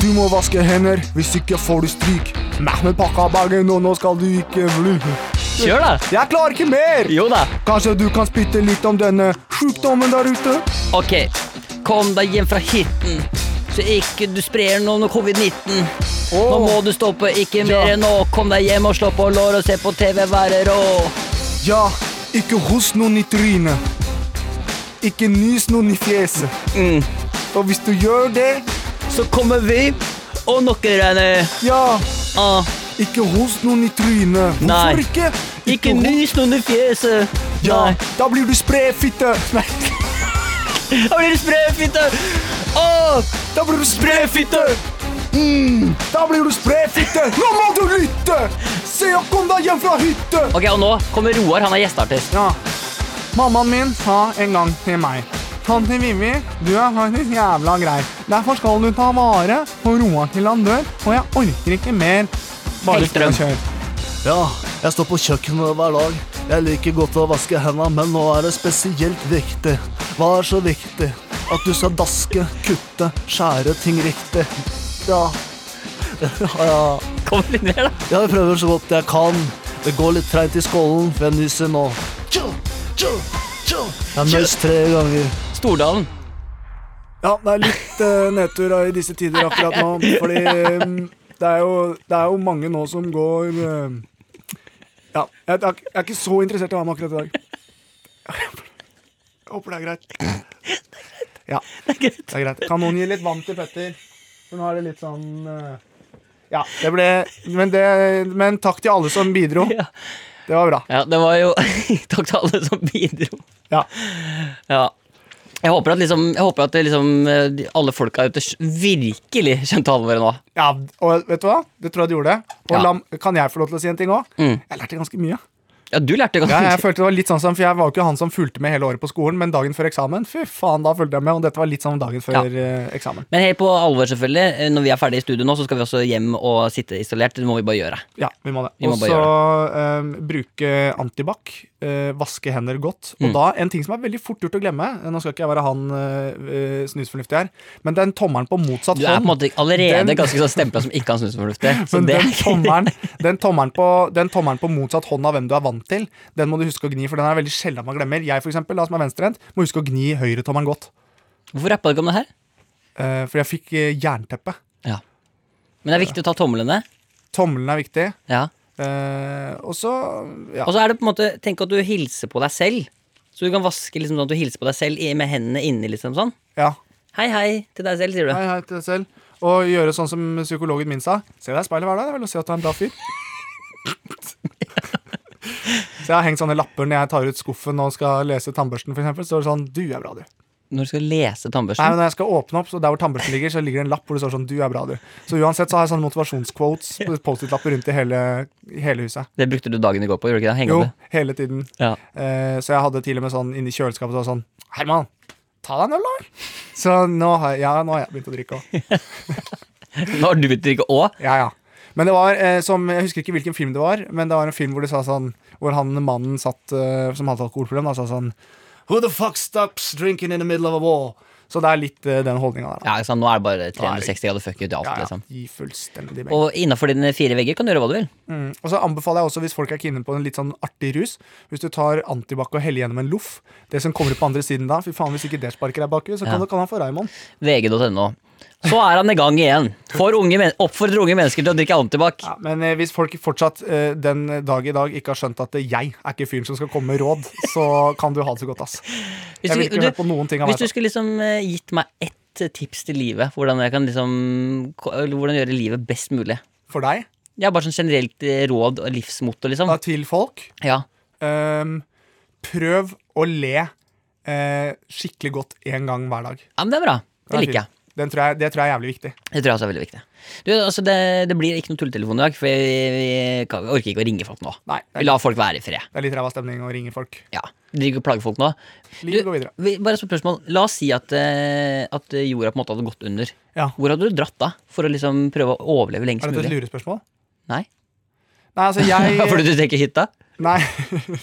S3: Du må vaske hender, hvis ikke får du stryk. Mehmed pakka bagen, og nå skal du ikke bli.
S2: Kjør, da.
S3: Jeg klarer ikke mer!
S2: Jo da.
S3: Kanskje du kan spytte litt om denne sjukdommen der ute?
S2: Ok. Kom deg hjem fra hytten, så ikke du sprer noe noe covid-19. Nå
S3: Åh.
S2: må du stoppe, ikke mer enn nå. Kom deg hjem og slå på lår og se på TV, være rå.
S3: Ja, ikke host noen i trynet. Ikke nys noen i fjeset.
S2: Mm.
S3: Og hvis du gjør det,
S2: Så kommer vi og knocker deg ned.
S3: ja,
S2: Ah,
S3: ikke host noen i trynet. Hvorfor
S2: Nei.
S3: ikke?
S2: ikke
S3: ho-
S2: nys noen i fjeset.
S3: Ja,
S2: Nei.
S3: da blir du sprefitte. Nei,
S2: Da blir det sprøytefitte. Åh,
S3: da blir du sprefitte. Mm, da blir du sprefitte. Nå må du lytte! Se og kom deg hjem fra hytte.
S2: Ok, og nå kommer Roar, han er gjesteartist. (laughs)
S3: Ja. Mammaen min sa en gang til meg Tante Vivi, du er faktisk jævla grei. Derfor skal du ta vare på Roar til han dør, og jeg orker ikke mer.
S2: Hellstrøm.
S3: kjør.
S4: Ja, jeg står på kjøkkenet hver dag. Jeg liker godt å vaske henda, men nå er det spesielt viktig. Hva er så viktig? At du skal daske, kutte, skjære ting riktig. Ja. ja, ja.
S2: Kom litt mer, da.
S4: Jeg prøver så godt jeg kan. Det går litt treigt i skålen, for jeg nyser nå. Jeg nøys tre ganger.
S2: Stordalen.
S3: Ja, det er litt eh, nedtur i disse tider akkurat nå, fordi mm, det, er jo, det er jo mange nå som går eh, Ja, jeg, jeg er ikke- jeg er ikke så interessert i å være med akkurat i dag. Jeg håper det er greit. Ja, det
S2: greit.
S3: er greit. Kan noen gi litt vann til Petter? For nå er det litt sånn eh, Ja, det ble Men, det, men takk til alle som bidro.
S2: Ja.
S3: Det var bra.
S2: Ja, det var jo (laughs) Takk til alle som bidro.
S3: Ja.
S2: Ja. Jeg håper at, liksom, jeg håper at det liksom, eh, de- alle folka ute sk- virkelig skjønte alvoret nå.
S3: Ja, og vet du hva? Det tror jeg du gjorde. Og
S2: Ja.
S3: lam- kan jeg få lov til å si en ting òg?
S2: Mm.
S3: Jeg lærte ganske mye.
S2: Ja, du lærte ganske
S3: Ja, jeg følte det var litt sånn som, for jeg var jo ikke han som fulgte med hele året på skolen, men dagen før eksamen, fy faen, da fulgte jeg med, og dette var litt sånn dagen før
S2: Ja.
S3: eh, eksamen.
S2: Men helt på alvor, selvfølgelig. eh, Når vi er ferdig i studio nå, så skal vi også hjem og sitte isolert. Det må vi bare gjøre.
S3: Ja, vi må det.
S2: Vi må
S3: Og
S2: bare
S3: så eh, bruke antibac, eh, vaske hender godt. Og
S2: Mm.
S3: da, en ting som er veldig fort gjort å glemme, eh, nå skal ikke jeg være han eh, eh, snusfornuftig her, men den tommelen på motsatt
S2: Du er på en
S3: hånd.
S2: måte allerede
S3: Sånn. Den-
S2: ganske sånn stempla som ikke kan snus fornuftig.
S3: (laughs)
S2: Så
S3: Men
S2: det
S3: den tommelen, den, tommelen på, den tommelen på motsatt hånd av hvem du er vant til, den må du huske å gni, for den er veldig sjelden man glemmer. Jeg, for eksempel, da, som er venstrehendt, må huske å gni høyretommelen godt.
S2: (laughs) Hvorfor rappa du ikke om det her?
S3: Eh, for jeg fikk eh, jernteppe.
S2: Men det er viktig å ta tomlene.
S3: Tommelen er viktig.
S2: Ja.
S3: Eh, og så ja.
S2: Og så er det på en måte Tenk at du hilser på deg selv. Så du kan vaske liksom sånn at du hilser på deg selv i- med hendene inni, liksom sånn.
S3: ja.
S2: Hei, hei til deg selv, sier du.
S3: Hei, hei til deg selv. Og gjøre sånn som psykologen min sa. Se deg i speilet hver dag. Det er vel å se at du er en bra fyr. Så jeg har hengt sånne lapper når jeg tar ut skuffen og skal lese tannbørsten, for eksempel. Så står det sånn 'Du er bra, du'.
S2: Når du skal lese
S3: Nei,
S2: tannbørsten.
S3: men når jeg skal åpne opp, så der hvor tannbørsten ligger, så ligger det en lapp hvor det står sånn 'Du er bra, du'. Så uansett så har jeg sånne motivasjonsquotes, Post-It-lapper rundt i hele, i hele huset.
S2: Det brukte du dagen i går på, gjorde du ikke det? Henge
S3: Jo,
S2: opp det.
S3: hele tiden.
S2: Ja. (laughs)
S3: Eh, så jeg hadde til og med sånn inni kjøleskapet så var det sånn Herman, ta deg en øl, da. Så nå har, jeg- ja, nå har jeg begynt å drikke òg.
S2: Nå har du begynt å drikke òg.
S3: Ja, ja. Men det var eh, som, Jeg husker ikke hvilken film det var, men det var en film hvor de sa sånn Hvor han mannen satt eh, som hadde alkoholproblem, da sa sånn Who the fuck stops drinking in the middle of a war? Så det er litt eh, den holdninga der. da.
S2: Ja, ikke sant? nå er det bare 360 grader fuck ut i alt,
S3: Ja, ja.
S2: liksom.
S3: Gi fullstendig beng.
S2: Og innafor dine fire vegger kan du gjøre hva du vil.
S3: Mm. Og så anbefaler jeg også, hvis folk er keene på en litt sånn artig rus, hvis du tar antibac og heller gjennom en loff Det som kommer ut på andre siden da, fy faen, hvis ikke det sparker deg bakover, så kan,
S2: Ja.
S3: du- kan han få Raymond.
S2: VG.no. Så er han i gang igjen. For unge men oppfordrer unge mennesker til å drikke antibac.
S3: Ja, men eh, hvis folk fortsatt eh, den dag i dag ikke har skjønt at eh, jeg er ikke fyren som skal komme med råd, så kan du ha det så godt, ass.
S2: Hvis
S3: Jeg vil
S2: du,
S3: ikke høre på
S2: du,
S3: noen ting han
S2: hvis du
S3: vet.
S2: skulle liksom eh, gitt meg ett tips til livet, hvordan jeg kan liksom ko- eller Hvordan gjøre livet best mulig.
S3: For deg,
S2: Ja, bare sånn generelt eh, råd og livsmotto, liksom.
S3: da til folk,
S2: Ja.
S3: ehm, prøv å le eh, skikkelig godt én gang hver dag.
S2: ja, men det er bra.
S3: Den
S2: Det
S3: er
S2: liker jeg.
S3: fin. Den tror jeg, det tror jeg er jævlig viktig.
S2: Det tror jeg også er veldig viktig. Du, altså det, det blir ikke noen tulletelefon i dag, for vi, vi, kan, vi orker ikke å ringe folk nå.
S3: Nei, det
S2: Vi
S3: er,
S2: lar folk være i fred.
S3: det er litt ræva stemning å ringe folk.
S2: Ja, Vi driver ikke og plager folk nå.
S3: Liv, gå videre.
S2: Vi, bare et spørsmål. La oss si at, eh, at jorda på en måte hadde gått under.
S3: Ja.
S2: Hvor hadde du dratt da? For å liksom prøve å overleve lengst
S3: Er dette et
S2: mulig?
S3: lurespørsmål?
S2: Nei? (laughs)
S3: Nei, altså jeg
S2: Fordi du tenker hytta? (laughs)
S3: Nei. (laughs)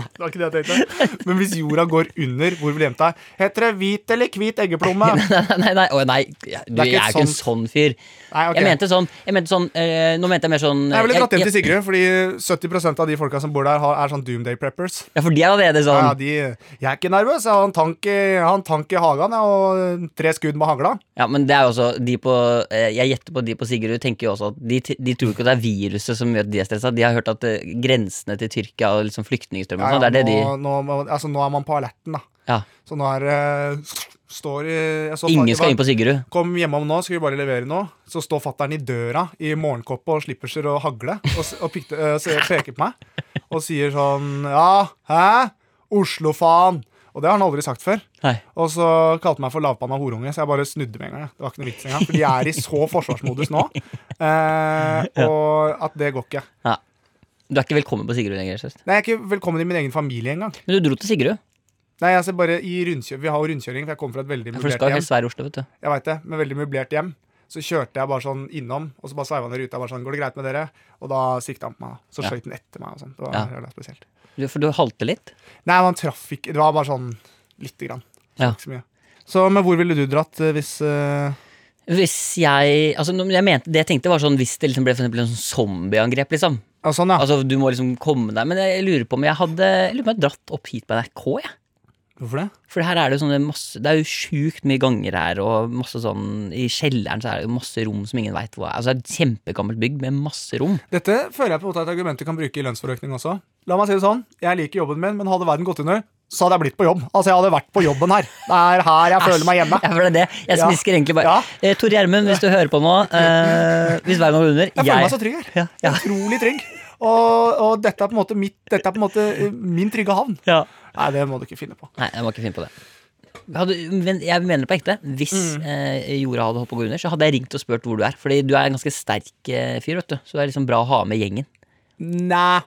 S3: Det var ikke det jeg tenkte. Men hvis jorda går under, hvor vil du gjemme deg? Heter det hvit eller hvit eggeplomme?
S2: Nei, nei, nei. nei. Å, nei. Ja, Du,
S3: Det er ikke
S2: jeg er jo ikke en
S3: et
S2: sånn fyr.
S3: Nei, ok.
S2: Jeg mente sånn, jeg mente sånn eh, Nå mente jeg mer sånn
S3: Nei, Jeg ville dratt hjem til
S2: jeg-
S3: Sigrid, fordi 70 av de folka som bor der, har- er sånn Doomday Preppers.
S2: Ja, for de er
S3: Ja,
S2: allerede sånn.
S3: de, jeg er ikke nervøs. Jeg har en tank i, jeg har en tank i hagen jeg, og tre skudd med hagla.
S2: Ja, men det er jo også de på eh, Jeg gjetter på de på Sigrud tenker jo også at de, t- de tror ikke at det er viruset som gjør at de er stressa. De har hørt at eh, grensene til Tyrkia og liksom flyktningstrømmen og sånn, det er det de
S3: nå, nå, må- altså, nå er man på alerten, da.
S2: Ja.
S3: Så nå er det Står i jeg så
S2: Ingen
S3: faen-
S2: skal inn på Sigrud.
S3: Kom hjemom nå, skal vi bare levere noe. Så står fattern i døra i morgenkåpe og slipperser og hagle og, s- og pikte, øh, se- peker på meg og sier sånn Ja, hæ? Oslo-faen. Og det har han aldri sagt før.
S2: Nei.
S3: Og så kalte han meg for lavpanna horunge, så jeg bare snudde med en gang. jeg. Det var ikke noe vits engang, for de er i så forsvarsmodus nå. Eh, og at det går ikke.
S2: Ja. Du er ikke velkommen på Sigrud lenger. Sørst.
S3: Nei, jeg er ikke velkommen i min egen familie engang.
S2: Men du dro til Sigrud.
S3: Nei, jeg ser bare i rundkjø- Vi har jo rundkjøring, for jeg kommer fra et veldig
S2: Ja, For du
S3: møblert
S2: skal jo
S3: hjem.
S2: helst være i Oslo, vet du.
S3: Jeg vet det, men veldig møblert hjem. Så kjørte jeg bare sånn innom, og så bare sveiva han i ruta. Bare sånn, går det greit med dere? Og da sikta han på meg. da. Så
S2: Ja.
S3: skøyt han etter meg. og sånn. Det var
S2: Ja.
S3: jævla spesielt.
S2: Du- For du halte litt?
S3: Nei, man traff ikke. Det var bare sånn lite grann.
S2: Ja.
S3: Ikke så mye. Så, men hvor ville du dratt eh, hvis eh,
S2: Hvis jeg Altså, nå- men jeg mente, det jeg tenkte, var sånn hvis det liksom ble for eksempel en sånn zombieangrep, liksom.
S3: Ja, sånn, ja.
S2: Altså, du må liksom komme deg Men jeg lurer på om jeg hadde jeg lurer på om jeg hadde dratt opp hit på NRK, jeg.
S3: Hvorfor det?
S2: For her er Altså, det jo sånne masse Det er jo sjukt mye ganger her, og masse sånn I kjelleren så er det jo masse rom som ingen veit hvor er. Altså, det er et kjempegammelt bygg med masse rom.
S3: Dette føler jeg på en måte er et argument du kan bruke i lønnsforøkning også. La meg si det sånn, jeg liker jobben min, men hadde verden gått under, så hadde jeg blitt på jobb. Altså, jeg hadde vært på jobben her. Det er her jeg føler meg hjemme.
S2: Ja, for det er det. Jeg
S3: Ja.
S2: smisker egentlig bare.
S3: Ja.
S2: Eh, Tor Gjermund, hvis du hører på nå, eh, hvis verden går under
S3: Jeg føler meg så trygg her.
S2: Ja, ja.
S3: Utrolig trygg. Og, og dette er på en måte, mitt, dette er på en måte eh, min trygge havn.
S2: Ja.
S3: Nei, det må du ikke finne på.
S2: Nei, jeg må ikke finne på det. Hadde, men jeg mener på ekte, hvis
S3: Mm.
S2: eh, jorda hadde holdt på å gå under, så hadde jeg ringt og spurt hvor du er. Fordi du er en ganske sterk eh, fyr, vet du. Så det er liksom bra å ha med gjengen.
S3: Næ.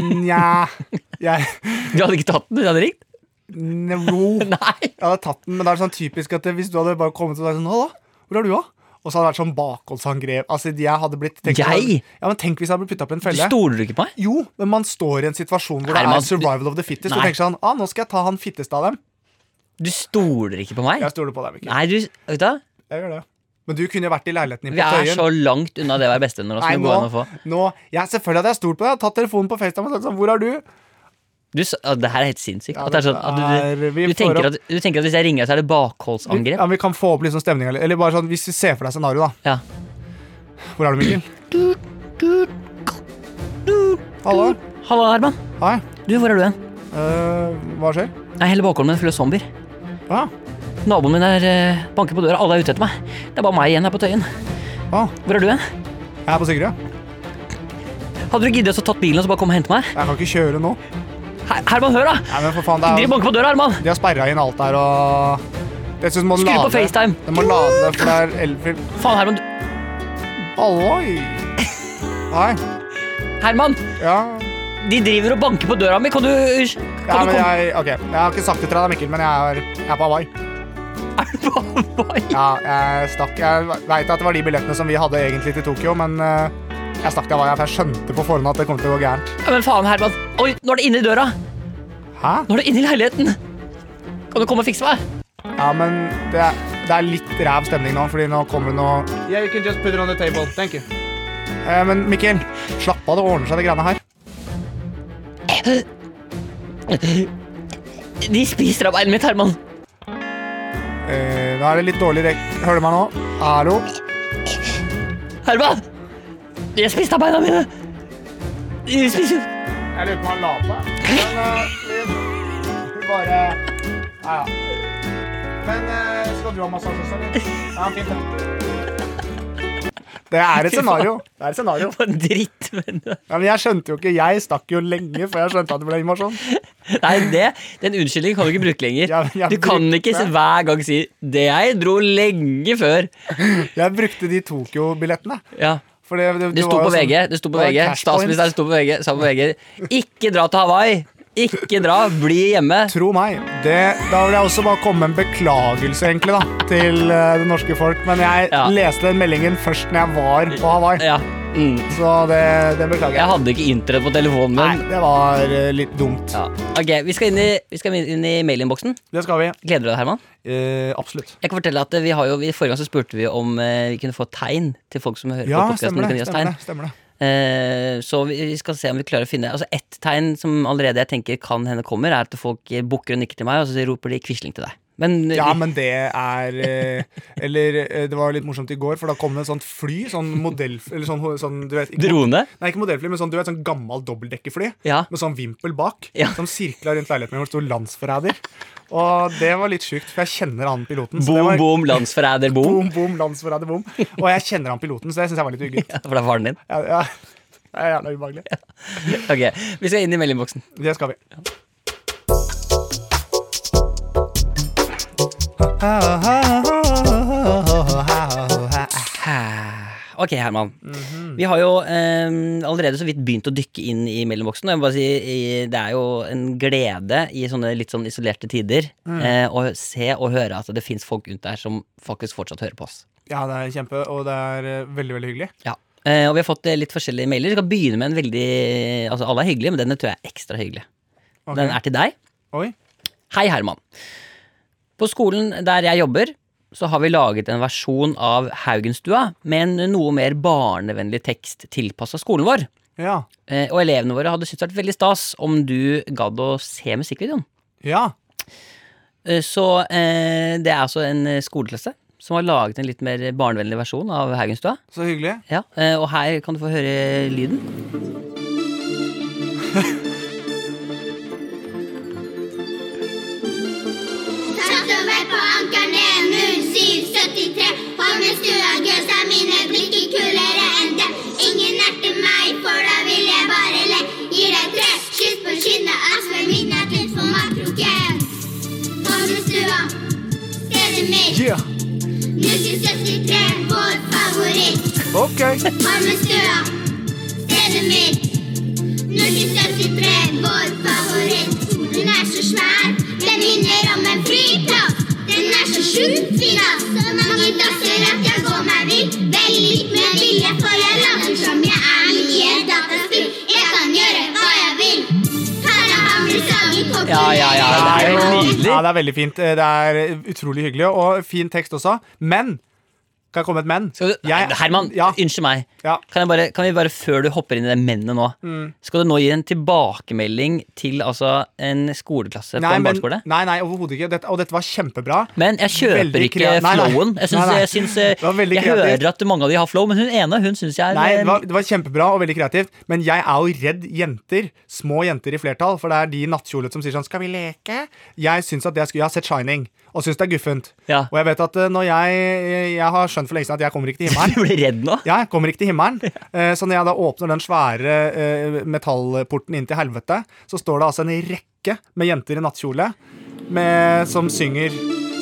S3: Nja. Jeg
S2: Du hadde ikke tatt den, du hadde ringt?
S3: No.
S2: Nei.
S3: Jeg hadde tatt den, men det er sånn typisk at hvis du hadde bare kommet og sagt sånn Halla, hvor er du, da? Og så hadde det vært sånn bakholdsangrep. Altså, jeg hadde blitt tenk,
S2: Jeg?
S3: Ja, men tenk hvis jeg hadde blitt putta opp i en
S2: Du
S3: felle.
S2: stoler du ikke på meg?
S3: Jo, men man står i en situasjon hvor det
S2: Er man-
S3: er survival of the fittest.
S2: Nei.
S3: Og tenker sånn, ah, nå skal jeg ta han fitteste av dem.
S2: Du stoler ikke på meg?
S3: Jeg stoler på deg, Mikkel.
S2: Nei, du, vet du hva?
S3: Jeg gjør det. Men du kunne jo vært i leiligheten din
S2: Vi
S3: på
S2: er
S3: Tøyen.
S2: så langt unna det å være bestevenner nå
S3: Nei,
S2: som det
S3: nå,
S2: går an å få.
S3: nå ja, Selvfølgelig hadde jeg stolt på deg. Jeg hadde Tatt telefonen på FaceTime og sagt sånn, hvor er du?
S2: Du, s- å, det her er helt sinnssykt.
S3: Ja,
S2: At det er sånn, at
S3: dette
S2: du,
S3: er- vi
S2: du,
S3: får
S2: tenker
S3: opp-
S2: at, du tenker at hvis jeg ringer deg, så er det
S3: Vi,
S2: bakholdsangrep?
S3: ja, vi kan få opp liksom stemninga litt. Eller bare sånn, hvis du ser for deg scenarioet, da.
S2: Ja.
S3: Hvor er du, Mikkel? Hallo?
S2: Halla, Herman.
S3: Hei.
S2: Du, hvor er du hen?
S3: Eh, hva skjer?
S2: Nei, hele bakholden min er full av zombier.
S3: Ah,
S2: Naboen min er, eh, banker på døra, alle er ute etter meg. Det er bare meg igjen her på Tøyen.
S3: ah,
S2: Hvor er du hen?
S3: jeg er på Sigrud.
S2: Hadde du giddet å tatt bilen og så bare komme og hente meg?
S3: Jeg kan ikke kjøre nå.
S2: Her, Herman, hør, da!
S3: Nei, men for faen, det
S2: Driv
S3: er,
S2: og banker på døra, Herman!
S3: de har sperra inn alt der og Dessuten må den
S2: Skru på
S3: lade.
S2: FaceTime.
S3: Den må lade, for det er elfil.
S2: Faen, Herman. du-
S3: Halloi! Hei.
S2: Herman!
S3: Ja.
S2: De driver og banker på døra mi, kan du
S3: ja,
S2: Kan du
S3: men
S2: komme?
S3: jeg OK. Jeg har ikke sagt det til deg, Mikkel, men jeg er, jeg er på Hawaii.
S2: Er du på Hawaii?
S3: Ja, jeg stakk Jeg veit at det var de billettene som vi hadde egentlig til Tokyo, men eh, jeg stakk til Hawaii, for jeg skjønte på forhånd at det kom til å gå gærent.
S2: Ja, Men faen, Herman. Oi, nå er det inne i døra.
S3: Hæ?
S2: Nå er det inne i leiligheten. Kan du komme og fikse meg?
S3: Ja, men det er, det er litt ræv stemning nå, fordi nå kommer det noe Yeah, you can just put it on the table. Thank you. Eh, men Mikkel, slapp av, det ordner seg, det greiene her.
S2: De spiser av beinet mitt, Herman.
S3: Eh, nå er det litt dårlig rek... Hører du meg nå? Hallo?
S2: Herman! De har spist av beina mine. De spiser
S3: Jeg lurer på om han la på. Men eh, vi vi bare Ja, ja. Men eh, skal du ha massasje også, eller? Ja, fint, det. Det er et scenario. Det er et scenario.
S2: på en dritt. Men...
S3: Ja, men jeg skjønte jo ikke Jeg stakk jo lenge før jeg skjønte at det ble invasjon.
S2: Nei, det, den unnskyldningen kan du ikke bruke lenger.
S3: Jeg- jeg
S2: du kan
S3: brukte-
S2: ikke s- hver gang si 'det jeg dro lenge før'.
S3: Jeg brukte de Tokyo-billettene.
S2: Ja.
S3: For det, det,
S2: Det sto
S3: var
S2: på
S3: jo sånn-
S2: VG. Det sto på
S3: det var
S2: VG.
S3: cash
S2: Statsministeren
S3: points.
S2: sto på VG, sa på VG 'ikke dra til Hawaii'. Ikke dra, bli hjemme.
S3: Tro meg. Det, da vil jeg også bare komme med en beklagelse egentlig da, til eh, det norske folk. Men jeg
S2: Ja.
S3: leste den meldingen først når jeg var på Hawaii,
S2: Ja. Mm.
S3: så det, det beklager
S2: Jeg
S3: jeg.
S2: hadde ikke internett på telefonen
S3: Nei,
S2: min.
S3: det var eh, litt dumt.
S2: Ja. Ok, vi skal inn i, vi skal inn i mailinnboksen.
S3: Det skal vi.
S2: Gleder du deg, Herman?
S3: Eh, absolutt.
S2: Jeg kan fortelle at eh, vi har jo, vi- Forrige gang så spurte vi om eh, vi kunne få tegn til folk som hører
S3: Ja,
S2: på podkasten.
S3: stemmer det.
S2: Tegn.
S3: Stemmer det, stemmer det.
S2: Eh, så vi, vi skal se om vi klarer å finne Altså Ett tegn som allerede jeg tenker kan hende kommer, er at folk eh, bukker og nikker til meg, og så roper de Quisling til deg. Men, eh,
S3: Ja,
S2: vi-
S3: men det er eh, Eller eh, det var litt morsomt i går, for da kom det et sånt fly. Sånn modell... Eller sånn, sånn du vet ikke,
S2: Drone?
S3: Nei, ikke modellfly, men sånn, du vet, sånn gammel dobbeltdekkerfly
S2: Ja.
S3: med sånn vimpel bak,
S2: Ja.
S3: som sirkla rundt leiligheten min hvor det sto 'landsforræder'. Og det var litt sjukt, for jeg kjenner han piloten. så det
S2: Boom,
S3: var,
S2: boom, landsforræder,
S3: (laughs)
S2: boom.
S3: boom, boom, landsforræder, boom. Og jeg kjenner han piloten, så det syns jeg var litt ugutt.
S2: (laughs) Ja, for det er faren din.
S3: Ja, ja. Det er jævla ubehagelig.
S2: Ok, Vi skal inn i mailinnboksen.
S3: Det skal vi.
S2: Ok, Herman. Vi har jo eh, allerede så vidt begynt å dykke inn i mellomboksen. Og jeg må bare si, i- det er jo en glede i sånne litt sånn isolerte tider
S3: Mm.
S2: eh, å se og høre at det fins folk rundt der som faktisk fortsatt hører på oss.
S3: Ja, det er kjempe, og det er eh, veldig, veldig hyggelig.
S2: Ja. Eh, og vi har fått eh, litt forskjellige mailer. Vi skal begynne med en veldig Altså Alle er hyggelige, men denne tror jeg er ekstra hyggelig.
S3: Ok.
S2: Den er til deg.
S3: Oi.
S2: Hei, Herman. På skolen der jeg jobber, så har vi laget en versjon av Haugenstua med en noe mer barnevennlig tekst tilpassa skolen vår.
S3: Ja.
S2: Eh, og elevene våre hadde syntes det vært veldig stas om du gadd å se musikkvideoen.
S3: Ja.
S2: Eh, Så eh, det er altså en eh, skoleklasse som har laget en litt mer barnevennlig versjon av Haugenstua.
S3: Så hyggelig.
S2: Ja, eh, Og her kan du få høre lyden.
S5: Satte meg på ankerne 0773 Holmenstua gøsa mine blikk er kulere enn det Ingen erter meg, for da vil jeg bare le Gir deg tre kyss på kinnet Asper midnattlunsj på matkroken Holmenstua, stedet mitt
S4: Yeah!
S5: 0773, vår favoritt
S3: Ok.
S5: Holmenstua, stedet mitt 0773, vår favoritt. Den er så svær, den minner om en flyplass. Den er så sjukt fin, ass. Så mange dasser at jeg går meg vill. Veldig litt med vilje, for jeg later som jeg er mitt i et dataspill. Jeg kan gjøre hva jeg vil. Tara Hamre sanger på
S2: Ja, ja, ja, det er jo nydelig.
S3: Ja, det er veldig fint. Eh, Det er utrolig hyggelig, og fin tekst også. Men Kan jeg komme med et men?
S2: Skal du, nei,
S3: Jeg-
S2: Herman,
S3: Ja.
S2: unnskyld meg.
S3: Ja.
S2: Kan, jeg bare, kan vi bare, før du hopper inn i det mennet nå,
S3: Mm.
S2: skal du nå gi en tilbakemelding til altså en skoleklasse på
S3: Nei,
S2: en
S3: men,
S2: barneskole?
S3: nei, nei overhodet ikke. Dette, og dette var kjempebra.
S2: Men jeg kjøper
S3: Veldig
S2: ikke
S3: krea- nei, nei.
S2: flowen. Jeg, syns,
S3: Nei, nei.
S2: jeg, syns, eh,
S3: Det var veldig
S2: jeg
S3: kreativt.
S2: hører at mange av de har flow, men hun ene hun syns jeg er
S3: Nei, det
S2: eh,
S3: var, det var kjempebra og veldig kreativt, men jeg er jo redd jenter. Små jenter i flertall, for det er de i nattkjolet som sier sånn 'Skal vi leke?' Jeg syns at jeg skulle Jeg har sett Shining og syns det er guffent.
S2: Ja.
S3: Og jeg vet at eh, når jeg Jeg har skjønt for lenge siden at jeg kommer ikke til himmelen.
S2: (laughs) (laughs) Du blir redd nå?
S3: Ja, jeg kommer ikke til
S2: (laughs)
S3: himmelen. Eh, Så når jeg da åpner den svære eh, metallporten inn til helvete, så står det altså en rekke med jenter i nattkjole med, som synger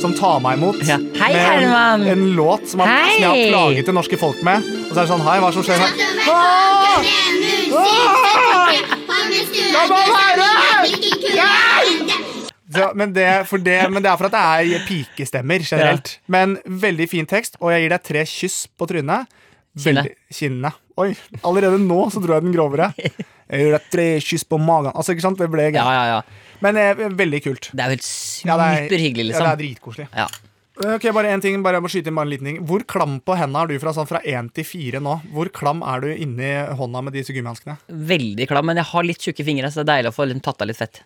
S3: som tar meg imot.
S2: Ja. Hei,
S3: med en,
S2: Herman!
S3: en låt som, har- som jeg har
S2: Hei!
S3: plaget det norske folk med. Og så er det sånn Hei, hva er det som skjer her?
S5: Satte meg på ankerne 0773 Holmenstua
S3: La meg
S5: gøsa
S3: være!
S5: mine blikk i kulere.
S3: Så, men, det, for det, men det er for at det er pikestemmer generelt. Men veldig fin tekst, og jeg gir deg tre kyss på trynet.
S2: Kinnet.
S3: Veldig- Kinnet. Oi, allerede nå så dro jeg den grovere. Jeg gir deg tre kyss på magen. Altså, ikke sant? Det ble gøy.
S2: Ja, ja, ja.
S3: Men eh, veldig kult.
S2: Det er jo helt
S3: Ja, det er- Ja,
S2: superhyggelig,
S3: det
S2: liksom.
S3: er dritkoselig.
S2: Ja.
S3: Ok, bare en ting, bare jeg må skyte inn bare en liten ting. Hvor klam på hendene er du fra sånn fra én til fire nå? Hvor klam er du inni hånda med disse gummihanskene?
S2: Veldig klam, men jeg har litt tjukke fingre, så det er deilig å få liksom, tatt av litt fett.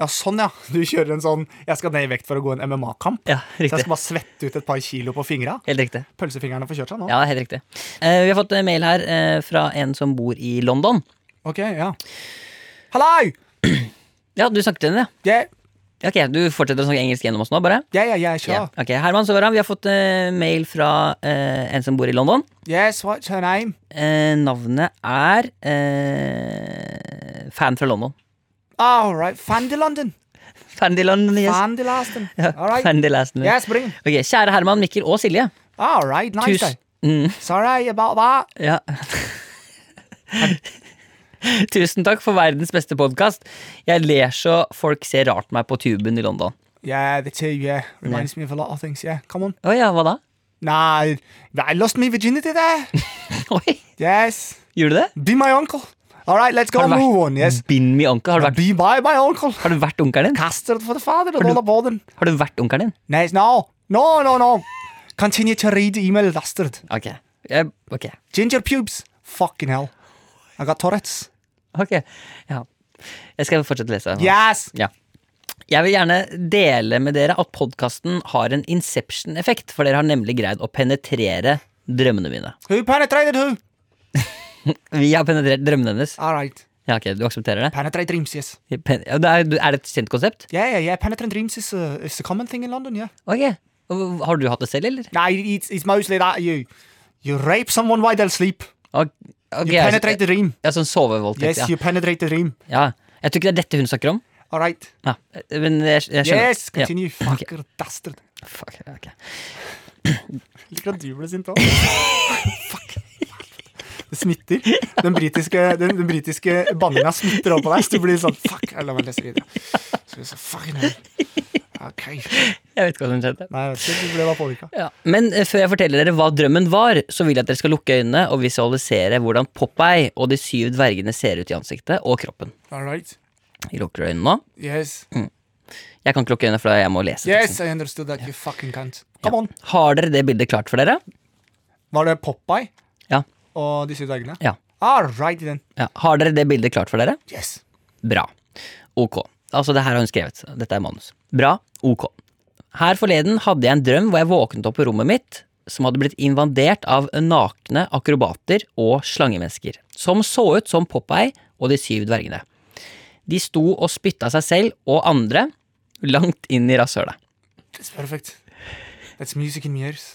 S3: Ja, sånn ja. Du kjører en sånn 'jeg skal ned i vekt for å gå en MMA-kamp'.
S2: Ja,
S3: Så jeg
S2: riktig.
S3: skal bare svette ut et par kilo på fingra.
S2: Helt riktig.
S3: Pølsefingrene får kjørt seg nå.
S2: Ja, helt riktig. Eh, vi har fått en mail her eh, fra en som bor i London.
S3: Ok, ja. Halloi!
S2: Ja, du snakket til henne, ja.
S3: Yeah,
S2: Ja, Ok, du fortsetter å snakke engelsk gjennom oss nå, bare?
S3: yeah, yeah, yeah,
S2: Ja.
S3: sure.
S2: Ok, Herman Søvara, vi har fått eh, mail fra eh, en som bor i London.
S3: Yes, what's her name?
S2: Eh, navnet er eh, Fan fra London. (laughs)
S3: All right, Fandy London.
S2: Fan i London, yes.
S3: Fandy Lasten. All right.
S2: Fan i Lasten.
S3: Yes, bring it.
S2: Ok, Kjære Herman, Mikkel og Silje.
S3: All right, nice
S2: Tusen-
S3: day. Sorry about that.
S2: Ja. (laughs) Tusen takk for verdens beste podkast. Jeg ler så folk ser rart meg på tuben i London.
S3: Yeah, the two, yeah. Reminds me of a lot of things, yeah. Come on.
S2: Å ja, hva da?
S3: Nah, I lost my virginity there.
S2: (laughs) Oi,
S3: yes.
S2: Gjorde du det?
S3: Be my uncle. All right, let's go
S2: Har du vært-
S3: move on, yes.
S2: Bind me onkel. Har du vært,
S3: Be by my uncle.
S2: har du vært onkelen din?
S3: Custard for the father and all the burden.
S2: Har du vært onkelen din?
S3: Nice, no. No, no, no. Continue to read the email, bastard.
S2: Ok. Jeg, ok.
S3: Ginger pubes. Fucking hell. I got Tourette's.
S2: Ok. Ja. Jeg skal fortsette å lese.
S3: Oh.
S2: Herman.
S3: Yes.
S2: Ja. Jeg vil gjerne dele med dere at podkasten har en inception-effekt, for dere har nemlig greid å penetrere drømmene mine.
S3: Who penetrated who?
S2: Vi har penetrert drømmene hennes.
S3: All right.
S2: Ja, ok, Du aksepterer det?
S3: Penetrate dreams, yes.
S2: Pen ja, det er, er det et kjent konsept?
S3: Yeah, yeah, yeah. Penetrate dreams is, uh, is a common thing in London, yeah.
S2: Ok. Og Har du hatt det selv, eller?
S3: Nah, it's, it's mostly that you you rape someone while they sleep.
S2: Ok, ok,
S3: You penetrate the dream.
S2: Ja, sånn sovevoldtekt,
S3: Yes, you
S2: ja.
S3: penetrate the dream.
S2: ja. Jeg tror ikke det er dette hun snakker om.
S3: All right.
S2: Ja, men jeg, jeg skjønner.
S3: Yes, (laughs) continue, fucker bastard.
S2: Ja, fuck, ok.
S3: Liker at du ble sint òg. Det smitter. Den britiske, den, den britiske banninga smitter over på deg. Så du blir sånn Fuck, la meg lese videre. Så blir det sånn, fucking hell. Ok.
S2: Jeg vet ikke hva som skjedde.
S3: Nei, jeg vet ikke. Du ble bare påvirka.
S2: Ja. Men eh, før jeg forteller dere hva drømmen var, så vil jeg at dere skal lukke øynene og visualisere hvordan Popeye og de syv dvergene ser ut i ansiktet og kroppen.
S3: All right.
S2: Jeg lukker øynene nå.
S3: Yes.
S2: Jeg kan ikke lukke øynene, for jeg må lese. teksten.
S3: Yes, I understood that, you fucking cunt. Come on.
S2: Har dere det bildet klart for dere?
S3: Var det Popeye
S2: Ja.
S3: og de syv dvergene?
S2: ja.
S3: All right, then.
S2: ja. Har dere det bildet klart for dere?
S3: Yes.
S2: Bra. Ok. Altså, det her har hun skrevet. Dette er manus. Bra. Ok. Her forleden hadde jeg en drøm hvor jeg våknet opp på rommet mitt som hadde blitt invadert av nakne akrobater og slangemennesker, som så ut som Popeye og de syv dvergene. De sto og spytta seg selv og andre langt inn i rasshølet.
S3: That's perfect. That's music in my ears.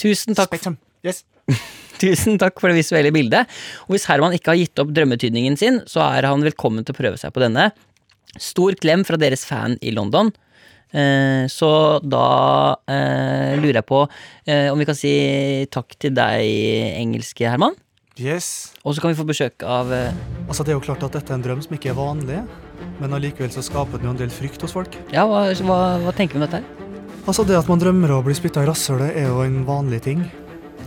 S2: Tusen takk
S3: Spectrum. Yes.
S2: Tusen takk for det visuelle bildet. Og hvis Herman ikke har gitt opp drømmetydningen sin, så er han velkommen til å prøve seg på denne. Stor klem fra deres fan i London. Eh, Så da eh, lurer jeg på eh, om vi kan si takk til deg, engelske Herman.
S3: Yes.
S2: Og så kan vi få besøk av eh,
S4: Altså, det er jo klart at dette er en drøm som ikke er vanlig, men allikevel så skaper den jo en del frykt hos folk.
S2: Ja, hva, hva, hva tenker vi om dette her?
S4: Altså, det at man drømmer om å bli spytta i rasshølet, er jo en vanlig ting,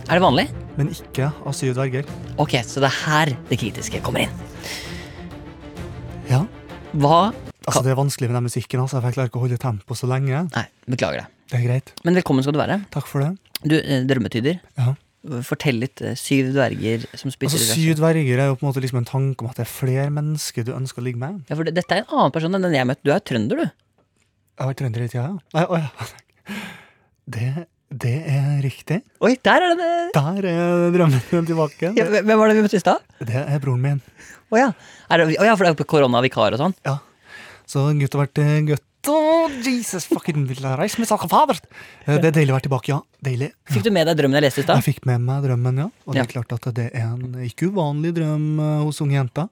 S2: Er det vanlig?
S4: men ikke av syv dverger.
S2: Ok, så det er her det kritiske kommer inn.
S4: Ja.
S2: Hva
S4: Altså, det er vanskelig med den musikken, altså. for Jeg klarer ikke å holde tempo så lenge.
S2: Nei, beklager det.
S4: Det er greit.
S2: Men velkommen skal du være.
S4: Takk for det.
S2: Du, eh, drømmetyder.
S4: Ja.
S2: Fortell litt. eh, Syv dverger som spytter
S4: Altså,
S2: i
S4: syv dverger er jo på en måte liksom en tanke om at det er flere mennesker du ønsker å ligge med.
S2: Ja, for det, Dette er en annen person enn den jeg møtte. Du er trønder, du.
S4: Jeg har vært trønder i tida, ja. Nei, å, ja. (laughs) Det, det er riktig.
S2: Oi, der er det det!
S4: Der er drømmen min tilbake.
S2: Ja,
S4: Det,
S2: hvem var det vi møtte i stad?
S4: det er broren min.
S2: Å ja. Er det- å ja, for det er jo koronavikar og sånn.
S4: Ja. Så gutt har vært eh, gutt. Å, Jesus fucking vil jeg reise med saken, fader! Eh, Det er deilig å være tilbake, ja. Deilig.
S2: Fikk du med deg drømmen jeg leste i
S4: Jeg
S2: stad?
S4: fikk med meg drømmen, ja. Og det
S2: Ja.
S4: er klart at det er en ikke uvanlig drøm eh, hos unge jenter.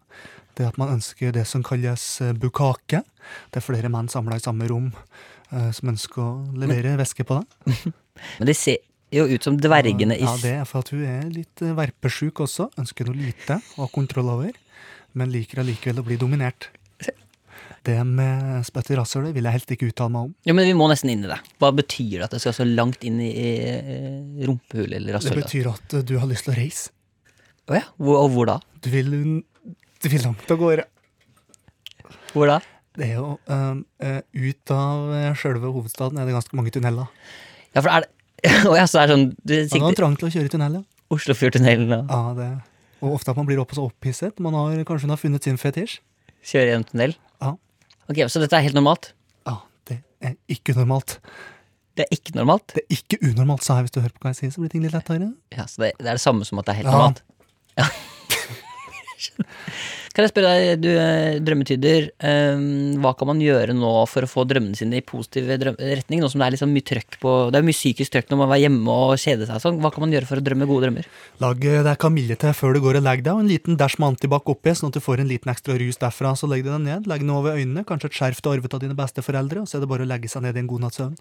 S4: Det at man ønsker det som kalles eh, bukake. Det er flere menn samla i samme rom eh, som ønsker å levere væske på deg.
S2: Men de ser jo ut som dvergene i
S4: Ja, det er for at hun er litt eh, verpesjuk også. Ønsker noe lite å ha kontroll over, men liker allikevel å bli dominert. Det med spytt i rasshølet vil jeg helst ikke uttale meg om.
S2: Jo, men vi må nesten inn i det. Hva betyr det at det skal så langt inn i eh, rumpehullet eller
S4: Det
S2: rasshølet?
S4: betyr at eh, du har lyst til å reise.
S2: Å ja. Hvor, og hvor da?
S4: Du vil, du vil langt av gårde.
S2: Hvor da?
S4: Det er jo øhm, øh, Ut av øh, selve hovedstaden er det ganske mange tunneler.
S2: Ja, for er det (laughs) Å ja, så er det sånn Du
S4: Ja, det er
S2: sikter
S4: trang til å kjøre i tunnel, ja.
S2: Oslofjordtunnelen og
S4: ja det. Og ofte at man blir opp så opphisset. Man har kanskje hun har funnet sin fetisj.
S2: kjører gjennom tunnel?
S4: Ja.
S2: Ok, Så dette er helt normalt?
S4: ja, det er ikke normalt.
S2: Det er ikke normalt?
S4: Det er ikke unormalt, sa jeg, hvis du hører på hva jeg sier, så blir ting litt lettere.
S2: Ja, så det, det er det samme som at det er helt
S4: Ja.
S2: normalt? Ja. (laughs) Skjønner. kan jeg spørre deg, du eh, drømmetyder, eh, hva kan man gjøre nå for å få drømmene sine i positiv drøm retning? Nå som det er liksom mye trøkk på Det er mye psykisk trøkk når man er hjemme og kjeder seg og sånn. Hva kan man gjøre for å drømme gode drømmer?
S4: Lag øh, deg kamille til før du går og legger deg, og en liten dash med antibac oppi, sånn at du får en liten ekstra rus derfra. Så legg deg ned, legg den over øynene, kanskje et skjerf du har arvet av dine besteforeldre, og så er det bare å legge seg ned i en god natts søvn.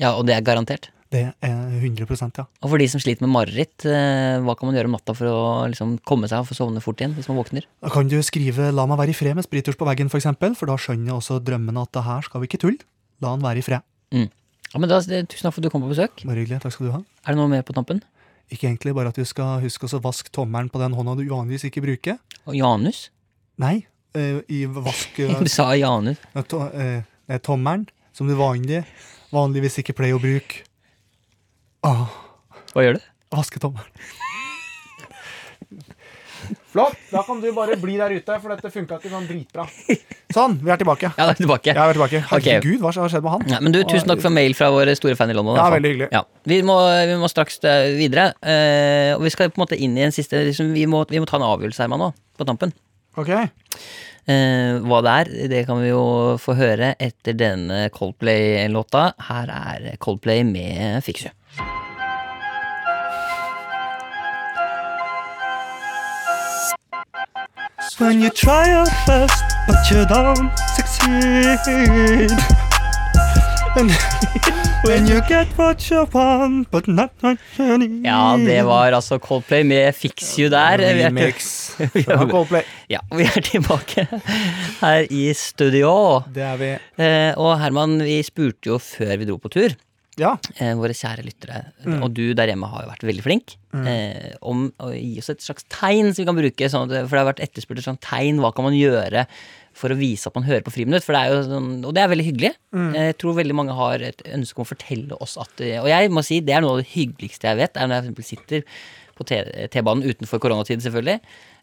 S2: Ja, og det er garantert.
S4: Det er 100 ja.
S2: Og for de som sliter med mareritt, eh, hva kan man gjøre om natta for å liksom komme seg og få sovne fort igjen hvis man våkner?
S4: Da kan du skrive 'la meg være i fred' med sprittusj på veggen, for, eksempel, for da skjønner også drømmene at det her skal vi ikke tulle. La han være i fred.
S2: Ja, men da, Tusen takk for at du kom på besøk.
S4: Bare hyggelig, takk skal du ha.
S2: Er det noe mer på tampen?
S4: Ikke egentlig, bare at du skal huske å vaske tommelen på den hånda du vanligvis ikke bruker.
S2: Og Janus?
S4: Nei, eh, i vask
S2: (laughs) Du sa Janus.
S4: eh, to, eh, nei, tommelen, som du vanlig, vanligvis ikke pleier å bruke. Ah,
S2: Hva gjør du?
S4: vaske tommelen.
S3: Flott. Da kan du bare bli der ute, for dette funka ikke sånn dritbra. Sånn, vi er tilbake.
S2: Ja, da er vi tilbake.
S3: Jeg er tilbake.
S2: Ok.
S3: Herregud, hva har skjedd med han?
S2: Ja, men du, Tusen takk for mail fra vår store fan i London. i
S3: Ja,
S2: hvert fall.
S3: veldig hyggelig.
S2: Ja. Vi, må, vi må straks eh, videre. eh, og vi skal på en måte inn i en siste liksom, vi, må, vi må ta en avgjørelse her nå, på tampen.
S3: Ok.
S2: Eh, hva det er, det kan vi jo få høre etter denne Coldplay-låta. Her er Coldplay med Fiksu.
S4: When you try your best, but you don't succeed. And (laughs) When you get what you want, but not what you need.
S2: Ja, det var altså Coldplay med Fix You der. Vi er til- (laughs)
S4: Remix
S2: Vi er-
S4: fra Coldplay.
S2: Ja, vi er tilbake her i studio.
S4: Det er vi.
S2: Eh, Og Herman, vi spurte jo før vi dro på tur,
S4: Ja.
S2: eh, våre kjære lyttere,
S4: Mm.
S2: og du der hjemme har jo vært veldig flink, eh, om å gi oss et slags tegn som vi kan bruke. Sånn at, for det har vært etterspurt et sånt tegn. Hva kan man gjøre for å vise at man hører på Friminutt? For det er jo sånn, og det er veldig hyggelig.
S4: Mm.
S2: Eh, Jeg tror veldig mange har et ønske om å fortelle oss at eh, Og jeg må si det er noe av det hyggeligste jeg vet, er når jeg for eksempel sitter på T- T-banen utenfor koronatid, selvfølgelig,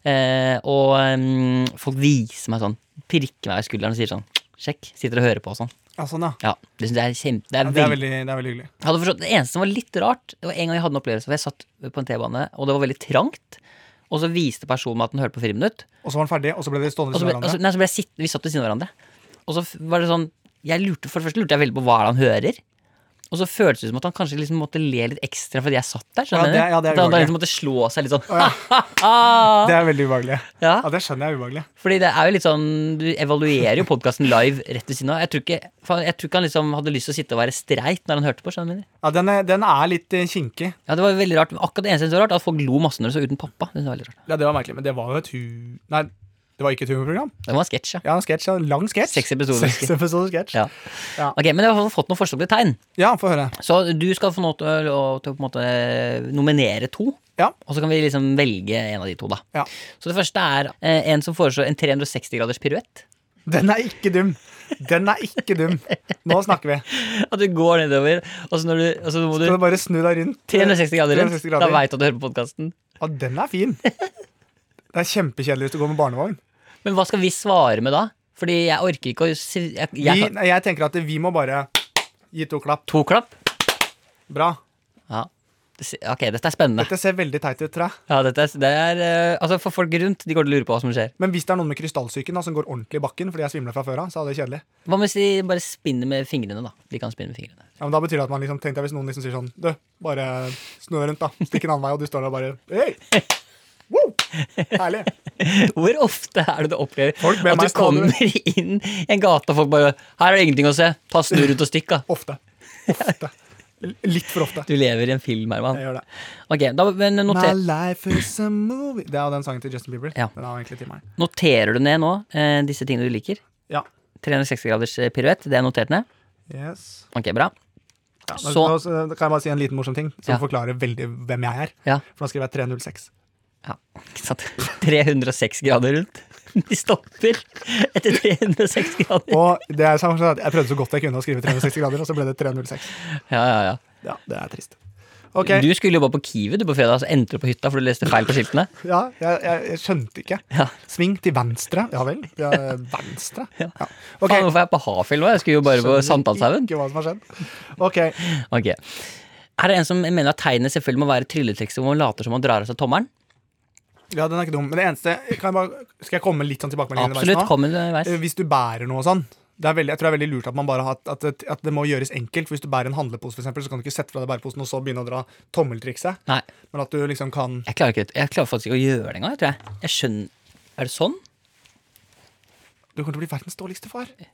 S2: eh, og mm, folk viser meg sånn, pirker meg i skulderen og sier sånn Sjekk. Sitter og hører på og sånn.
S4: ja, sånn, ja.
S2: Ja, det synes jeg er kjempe... Det er
S4: ja det, er
S2: veldig
S4: veldig, det er veldig hyggelig.
S2: jeg hadde forstått, det eneste som var litt rart, det var en gang jeg hadde en opplevelse hvor jeg satt på en T-bane, og det var veldig trangt. Og så viste personen meg at den hørte på Friminutt.
S4: Og så var den ferdig, og så ble de stående
S2: Og
S4: ved
S2: så ble,
S4: siden av
S2: og så,
S4: hverandre.
S2: nei, så ble jeg sitt, vi satt ved siden av hverandre. Og så f- var det sånn jeg lurte, For det første lurte jeg veldig på hva er det han hører. Og så føltes det som at han kanskje liksom måtte le litt ekstra fordi jeg satt der.
S4: Ja,
S2: skjønner
S4: det-
S2: du?
S4: ja, det er
S2: At han da
S4: ubehagelig.
S2: liksom måtte slå seg litt sånn.
S4: Det er veldig ubehagelig.
S2: (laughs) Ja,
S4: Ja, det skjønner jeg er ubehagelig.
S2: fordi det er jo litt sånn Du evaluerer jo podkasten live rett ved siden av. Jeg tror, ikke, faen, jeg tror ikke han liksom hadde lyst til å sitte og være streit når han hørte på. skjønner du?
S4: Ja, den er, den er litt eh, kinkig.
S2: Ja, det var veldig rart. Men akkurat det eneste som var rart, at folk lo masse når de så uten pappa. Det var veldig rart.
S4: Ja, det var merkelig, men det var jo et hu... Nei, det var ikke et humorprogram.
S2: Det var en sketsj, ja.
S4: Ja, en sketsj. En lang sketsj.
S2: Seks episoder.
S4: Seks episoder sketsj.
S2: ja.
S4: Ja.
S2: Ok, Men jeg har fått noen forslag til tegn.
S4: Ja, få høre.
S2: Så du skal få lov til å til å på en måte eh, nominere to.
S4: Ja.
S2: Og så kan vi liksom velge en av de to, da.
S4: Ja.
S2: Så det første er eh, en som foreslår en 360 graders piruett. (laughs)
S4: Den er ikke dum. Den er ikke dum. Nå snakker vi.
S2: At du går nedover, og så, når du, og så må du
S4: Skal du bare snu deg rundt?
S2: 360 grader rundt.
S4: 360
S2: Da veit du at du hører på podkasten.
S4: Ja, den er fin. Det er kjempekjedelig hvis du går med barnevogn.
S2: Men hva skal vi svare med da? Fordi jeg orker ikke å si jeg, jeg,
S4: Vi, nei, jeg tenker at vi må bare gi to klapp.
S2: To klapp?
S4: Bra.
S2: Ja. Det se- Ok, dette er spennende.
S4: Dette ser veldig teit ut, tror jeg.
S2: Ja, dette er, det er eh, Altså, for folk rundt, de går til å lure på hva som skjer.
S4: Men hvis det er noen med krystallsyken da, som går ordentlig i bakken fordi jeg svimler fra før av, så er det kjedelig.
S2: Hva hvis de bare spinner med fingrene, da? De kan spinne med fingrene.
S4: Ja, men da betyr det at man liksom, tenkte jeg hvis noen liksom sier sånn Du, bare snu deg rundt, da. Stikk en annen vei, og du står der og bare Hei! Wow! Herlig.
S2: Hvor ofte er det du opplever
S4: Folk ber
S2: at du
S4: meg stadig
S2: kommer inn i en gate, og folk bare 'Her er det ingenting å se. Ta snu rundt og stikk', da.
S4: Ofte. Ofte. L- Litt for ofte.
S2: Du lever i en film, Herman.
S4: Jeg gjør det.
S2: Ok, da, men
S4: My
S2: noter,
S4: life is a movie Det er jo den sangen til Justin Bieber.
S2: Ja.
S4: Den er jo egentlig til meg.
S2: Noterer du ned nå eh, disse tingene du liker?
S4: Ja.
S2: 360 graders eh, piruett, det er notert ned?
S4: Yes.
S2: Ok, bra.
S4: Ja, nå,
S2: Så-
S4: nå s- kan jeg bare si en liten morsom ting som
S2: Ja.
S4: forklarer veldig hvem jeg er.
S2: Ja,
S4: For nå skriver jeg 306.
S2: ja. Ikke sant? (laughs) 306 grader rundt. (laughs) De stopper etter 306 grader.
S4: Og det er sånn at jeg prøvde så godt jeg kunne å skrive 360 grader, og så ble det 306.
S2: Ja, ja, ja.
S4: Ja, det er trist. Ok,
S2: Du skulle jo bare på Kiwi du på fredag, så endte du på hytta for du leste feil på skiltene.
S4: ja, jeg, jeg, jeg skjønte ikke.
S2: Ja.
S4: Sving til venstre. Ja vel. Ja, venstre. Ja. Ok,
S2: Faen, hvorfor er jeg på Hafjell nå? Jeg skulle jo bare på
S4: skjønner
S2: Sandalshaugen.
S4: Ikke hva som har skjedd. Ok,
S2: Ok. Her er en som mener at tegnet selvfølgelig må være trylletrikset hvor man later som man drar av seg tommelen.
S4: ja, den er ikke dum. Men det eneste, kan jeg bare, skal jeg komme med litt sånn tilbakemelding
S2: Absolutt.
S4: underveis nå?
S2: Kom underveis.
S4: Eh, Hvis du bærer noe og sånn. Det er veldig, jeg tror det er veldig lurt at, man bare har, at, at, at det må gjøres enkelt. For hvis du bærer en handlepose, for eksempel, så kan du ikke sette fra deg bæreposen og så begynne å dra tommeltrikset.
S2: Nei,
S4: Men at du liksom kan
S2: jeg klarer, ikke, jeg klarer faktisk ikke å gjøre det engang. Jeg tror jeg. jeg skjønner Er det sånn?
S4: Du kommer til å bli verdens dårligste far. Hvis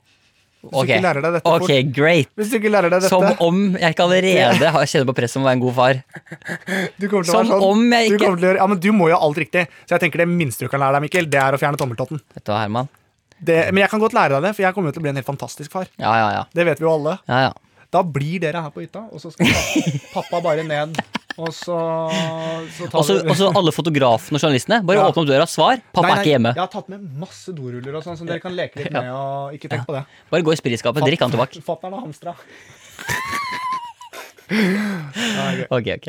S2: Ok,
S4: du ikke lærer deg dette
S2: Ok,
S4: fort.
S2: great.
S4: Hvis du ikke lærer deg dette
S2: Som om jeg ikke allerede har- kjenner på presset om å være en god far.
S4: Du kommer til å
S2: Som
S4: være sånn.
S2: om jeg ikke-
S4: du, kommer til å gjøre, ja, men du må jo alt riktig. Så jeg tenker det minste du kan lære deg, Mikkel, det er å fjerne tommeltotten.
S2: Vet du hva, Herman?
S4: Det, men jeg kan godt lære deg det, for jeg kommer jo til å bli en helt fantastisk far.
S2: Ja, ja, ja.
S4: Det vet vi jo alle.
S2: ja, ja.
S4: Da blir dere her på hytta, og så
S2: (laughs)
S4: skal pa- pappa bare ned. Og så, så tar
S2: Og så
S4: du-
S2: og så alle fotografene og journalistene. Bare
S4: Ja.
S2: åpne opp døra, svar. Pappa Altså,
S4: Nei,
S2: er
S4: nei,
S2: ikke hjemme.
S4: Jeg har tatt med masse doruller og sånn, som dere kan leke litt med. og ikke tenk på det.
S2: Bare gå i spritskapet, drikk han tobakk.
S4: Fatter'n og hamstra. Ja, det er gøy.
S2: Ok, ok.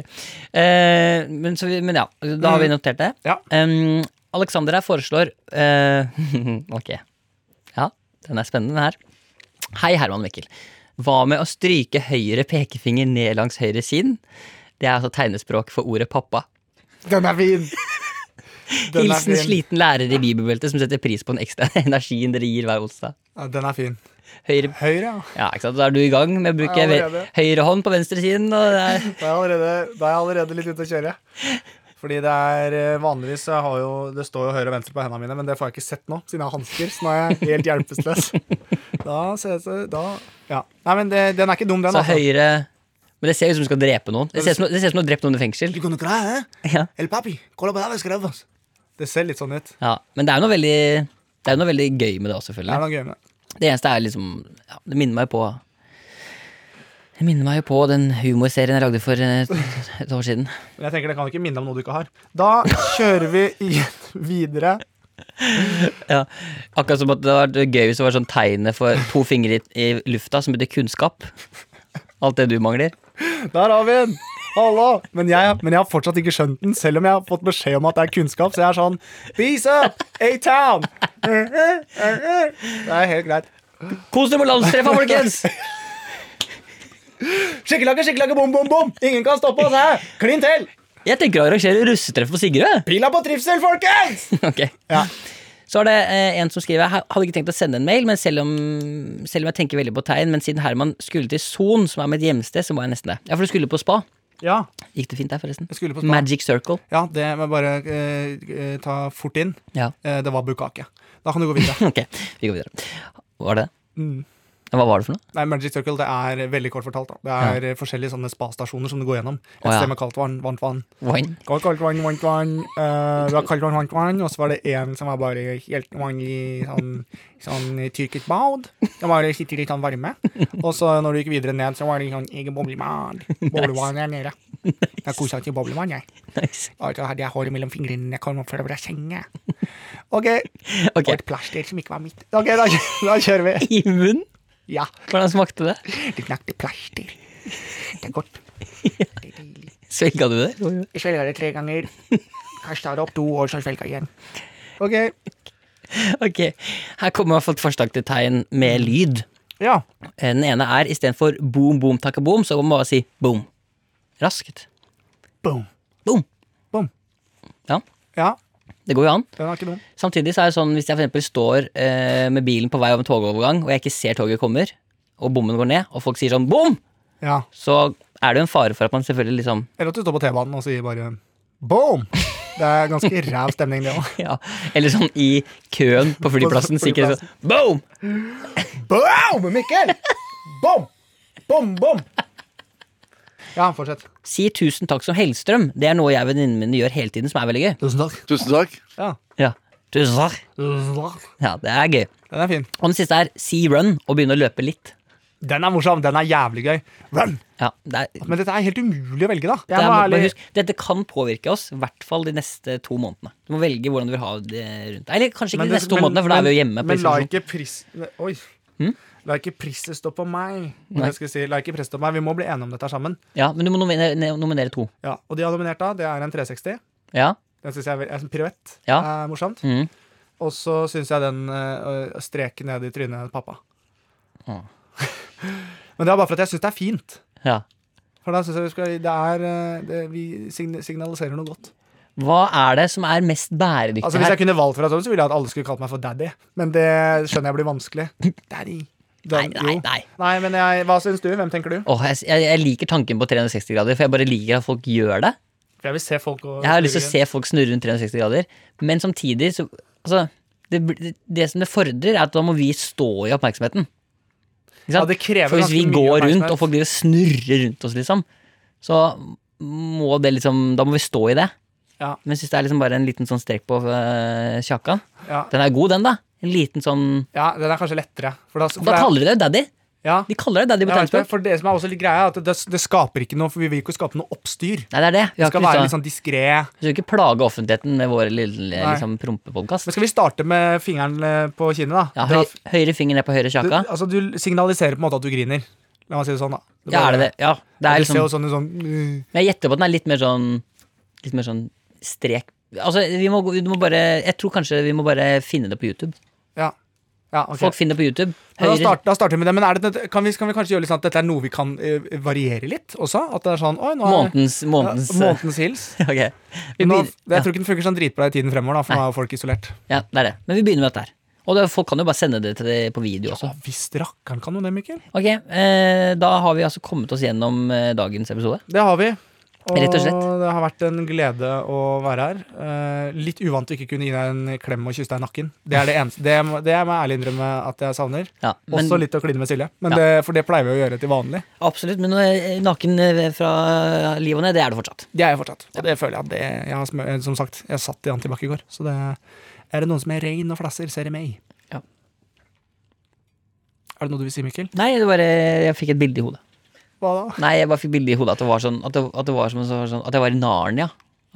S2: Eh, men, så vi, men ja, da har vi
S4: Mm.
S2: notert det.
S4: Ja.
S2: Um, Alexander her foreslår eh, (laughs) Ok. Ja, den er spennende, den her. Hei, Herman og Mikkel. Hva med å stryke høyre pekefinger ned langs høyre kinn? Det er altså tegnespråk for ordet pappa.
S4: Den er fin! Den er
S2: Hilsen
S4: fin.
S2: sliten lærer i bibelbeltet som setter pris på den ekstra (laughs) energien dere gir hver onsdag.
S4: Ja, den er fin.
S2: Høyre
S4: Høyre, ja.
S2: Ja, ikke sant? Da er du i gang med å bruke
S4: Ja,
S2: ve-
S4: allerede.
S2: høyre hånd på venstre siden. Og det er
S4: Da er jeg allerede, da er jeg allerede litt ute å kjøre. Fordi det er eh, vanligvis jeg har jo, Det står jo høyre og venstre på hendene mine, men det får jeg ikke sett nå, siden jeg har hansker. Så nå er jeg helt hjelpeløs. Da ser det ut Da Ja. Nei, men det, den er ikke dum, den.
S2: Så
S4: Altså.
S2: høyre Men det ser ut som du skal drepe noen. Det ser ut som, det ser ut som du har drept noen i fengsel.
S6: Kunne ikke det, eh?
S2: Ja.
S6: El papi, kolla på det vi skrev, altså.
S4: Det ser litt sånn ut.
S2: Ja, men det er jo noe veldig Det er jo noe veldig gøy med det også,
S4: Det er
S2: selvfølgelig.
S4: noe gøy med det.
S2: Det eneste er liksom ja, Det minner meg jo på Det minner meg jo på den humorserien jeg lagde for eh, et år siden.
S4: Men jeg tenker det kan ikke minne om noe du ikke har. Da kjører vi igjen videre.
S2: Ja. Akkurat som at det hadde vært gøy hvis det var sånn tegnet for to fingre i, i lufta som betyr kunnskap. Alt det du mangler.
S4: Der har vi den! Hallo! Men jeg, men jeg har fortsatt ikke skjønt den, selv om jeg har fått beskjed om at det er kunnskap. Så jeg er sånn Peace up! A-town! Det er helt greit.
S2: Kos dere med landstreffa, folkens!
S4: Skikkelakke, skikkelakke, bom, bom, bom! Ingen kan stoppe oss her! Klin til!
S2: Jeg tenker å arrangere russetreff på Sigrud. jeg.
S4: Pila på trivsel, folkens!
S2: (laughs) Ok.
S4: Ja.
S2: Så er det eh, en som skriver Jeg hadde ikke tenkt å sende en mail, men selv om, selv om jeg tenker veldig på tegn. Men siden Herman skulle til Son, som er mitt hjemsted, så må jeg nesten det. Ja, for du skulle på spa.
S4: ja.
S2: Gikk det fint der, forresten?
S4: Jeg skulle på spa.
S2: Magic Circle.
S4: Ja, det må jeg bare eh, eh, ta fort inn.
S2: Ja.
S4: Eh, det var bukkake. Da kan du gå
S2: (laughs)
S4: videre.
S2: Ok, vi går videre. Var det det?
S4: Mm.
S2: Hva var det for noe?
S4: Nei, Magic Circle det er veldig kort fortalt. da Det er eh, forskjellige sånne spastasjoner som du går gjennom. Et
S2: Å, ja.
S4: sted med kaldt vann, varmt vann.
S2: Wine?
S4: Kaldt, kaldt vann, varmt vann. eh, det var kaldt vann, varmt vann. Og så var det en som var bare helt vanlig sånn, sånn tyrkisk bad. Det var sitter litt sånn varme. Og så når du gikk videre ned, så var det sånn egen boblebad. Boblevann er nede. Jeg kosa meg til boblevann, jeg.
S2: Nice.
S4: Og så hadde jeg håret mellom fingrene. Jeg kom opp fra senga. OK. Og
S2: Ok.
S4: et plaster som ikke var mitt. OK, da, kjø- da kjører vi.
S2: (laughs) I munnen?
S4: Ja.
S2: Hvordan smakte det?
S4: Det knakte plaster. Det er godt. Det er deilig.
S2: Svelga du det?
S4: Jeg svelga det tre ganger. Kasta det opp to, og så svelga igjen. OK.
S2: Ok. Her kommer i hvert fall et forslag til tegn med lyd.
S4: Ja.
S2: Eh, Den ene er istedenfor boom, boom, takka boom, så må man bare si boom. Raskt.
S4: Boom.
S2: Boom.
S4: Boom.
S2: Ja,
S4: Ja,
S2: det går jo an.
S4: den er ikke dum.
S2: Samtidig så er det sånn hvis jeg for eksempel står eh, med bilen på vei over en togovergang, og jeg ikke ser toget kommer, og bommen går ned, og folk sier sånn bom,
S4: Ja.
S2: så er det jo en fare for at man selvfølgelig liksom
S4: Eller at du står på T-banen og sier bare boom! Det er
S2: (laughs)
S4: ganske ræv stemning, det òg.
S2: ja, Eller sånn i køen på flyplassen, sikkert sånn boom!
S4: Boom, Mikkel! Bom! Bom, bom! Ja, fortsett.
S2: Si tusen takk som Hellstrøm. Det er noe jeg og venninnene mine gjør hele tiden, som er veldig gøy.
S6: Tusen takk.
S7: Tusen takk.
S4: Ja.
S2: Ja, tusen takk.
S4: Den
S2: Ja, det er gøy.
S4: er fin.
S2: Og den siste er si run, og begynne å løpe litt.
S4: Den er morsom. Den er jævlig gøy. Run!
S2: Ja, det er...
S4: Men dette er helt umulig å velge, da.
S2: Det
S4: Jeg
S2: er,
S4: må
S2: bare
S4: ærlig
S2: husk, dette kan påvirke oss, i hvert fall de neste to månedene. Du må velge hvordan du vil ha det rundt deg. Eller kanskje ikke
S4: Men
S2: de
S4: det-
S2: neste to
S4: men-
S2: månedene, for da er vi jo
S4: men-
S2: hjemme. på
S4: Men la
S2: institusjon.
S4: ikke pris... Oi.
S2: Hm?
S4: La ikke presset stå på
S3: Mm.
S4: meg. Jeg skulle si, la ikke presset stå på meg. Vi må bli enige om dette sammen.
S2: Ja, Men du må nominere, ne- nominere to.
S4: Ja, og de har nominert da, det er en 360.
S2: Ja,
S4: Den syns jeg er vel- er en piruett.
S2: Ja.
S4: Er Eh, morsomt.
S2: Mhm.
S4: Og så syns jeg den øh, streken ned i trynet til pappa.
S2: Åh.
S4: (laughs) Men det er bare for at jeg syns det er fint.
S2: ja.
S4: For da syns jeg vi skal Det er øh, det, Vi sign- signaliserer noe godt.
S2: Hva er det som er mest bæredyktig
S4: Altså Hvis jeg
S2: her?
S4: kunne valgt fra sånn, så ville jeg at alle skulle kalt meg for daddy. Men det skjønner jeg blir vanskelig.
S2: (laughs)
S4: Daddy. Den,
S2: Nei, nei,
S4: jo.
S2: nei.
S4: Nei, men jeg, hva syns du? Hvem tenker du?
S2: Åh, jeg, jeg, jeg liker tanken på 360 grader, for jeg bare liker at folk gjør det.
S4: For jeg vil se folk og
S2: Jeg har lyst til å se folk snurre rundt 360 grader, men samtidig så Altså, det, bl- det som det fordrer, er at da må vi stå i oppmerksomheten. Ikke sant?
S4: Ja, det krever
S2: For hvis vi
S4: ganske mye
S2: går rundt,
S4: oppmerksomhet.
S2: og folk driver og snurrer rundt oss, liksom, så må det liksom Da må vi stå i det.
S4: Ja.
S2: Men hvis det er liksom bare en liten sånn strek på øh, kjakan
S4: Ja.
S2: Den er god, den, da. En liten sånn
S4: ja, den er kanskje lettere. For da, for
S2: Da
S4: det er-
S2: kaller de deg daddy.
S4: ja.
S2: De kaller deg daddy på
S4: Jeg vet det,
S2: tegnspråk.
S4: for det som er også litt greia, er at det, det skaper ikke noe, for vi vil ikke skape noe oppstyr.
S2: Nei, det er det. Vi
S4: Vi
S2: har
S4: skal
S2: ikke lyst
S4: være
S2: til
S4: litt
S2: å-
S4: sånn diskré.
S2: vi skal ikke plage offentligheten med vår lille
S4: Nei.
S2: liksom, prompepodkast.
S4: Men skal vi starte med fingeren eh, på kinnet, da?
S2: Ja,
S4: Dra
S2: høy, høyre finger ned på høyre
S4: du,
S2: kjaka.
S4: altså, du signaliserer på en måte at du griner. La meg si det sånn, da. Du
S2: Ja,
S4: bare-
S2: er det det? Ja, det er
S4: du ser
S2: liksom
S4: jo sånn, sånn
S2: Men Jeg gjetter på at den er litt mer sånn Litt mer sånn strek Altså, vi må, gå- du må bare Jeg tror kanskje vi må bare finne det på YouTube.
S4: Ja. ja ok.
S2: Folk finner det på YouTube.
S4: Men da,
S2: Høyre
S4: start, da starter vi med det. Men er det, kan, vi, kan vi kanskje gjøre litt sånn at dette er noe vi kan eh, variere litt også? At det er sånn oi, nå er,
S2: Månedens Månedens
S4: ja, månedens hils.
S2: (laughs) Ok. Vi
S4: Nå,
S2: begynner,
S4: jeg tror ikke den funker sånn dritbra i tiden fremover, da, for nå er jo folk isolert.
S2: ja, det er det. Men vi begynner med dette her. Og det, folk kan jo bare sende det til deg på video også.
S4: Å, visst rakkeren kan jo det, Mikkel.
S2: Ok, eh, Da har vi altså kommet oss gjennom eh, dagens episode.
S4: Det har vi.
S3: Og
S2: Rett og slett.
S3: det har vært en glede å være her. Eh, litt uvant å ikke kunne gi deg en klem og kysse deg i nakken. Det er det eneste Det, må- det må jeg ærlig innrømme at jeg savner.
S2: Ja, men-
S3: Også litt å kline med Silje, men
S2: Ja.
S3: det, for det pleier vi å gjøre til vanlig.
S2: Absolutt, men eh, naken eh, fra livet og ned, det er du fortsatt.
S3: Det er jeg fortsatt. Og det føler jeg at det jeg har, smø- eh, Som sagt, jeg satt i antibac i går, så det er det noen som er rein og flasser, ser de meg.
S2: Ja.
S3: Er det noe du vil si, Mikkel?
S2: Nei, det bare, jeg fikk et bilde i hodet.
S3: Hva da?
S2: Nei, jeg bare fikk bilde i hodet at det var sånn At det, at det var som en sånn, sånn- At jeg var i Narnia.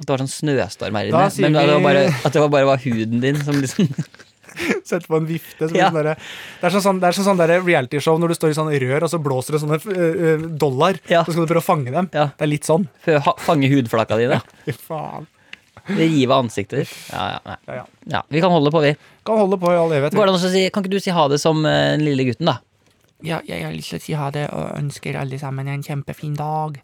S2: At det var sånn snøstorm her inne.
S3: Da sier
S2: Men at det var
S3: vi-
S2: bare, at det var bare var huden din som liksom (laughs)
S3: Sett på en vifte. Som
S2: Ja.
S3: en sånn derre- det er sånn, sånn, det er sånn, sånn derre realityshow når du står i sånn rør, og så blåser det sånne eh, eh, dollar.
S2: Ja.
S3: Så skal du prøve å fange dem.
S2: Ja.
S3: Det er litt sånn.
S2: f- ha- Fange hudflakka dine.
S3: Fy faen.
S2: Rive ansiktet ditt. Ja, ja, nei.
S3: Ja, ja.
S2: ja, vi kan holde på, vi.
S3: Kan holde på i all evighet.
S2: Går det an å si, kan ikke du si ha det som eh, den lille gutten, da?
S3: Ja, jeg har lyst til å si ha det, og ønsker alle sammen en kjempefin dag.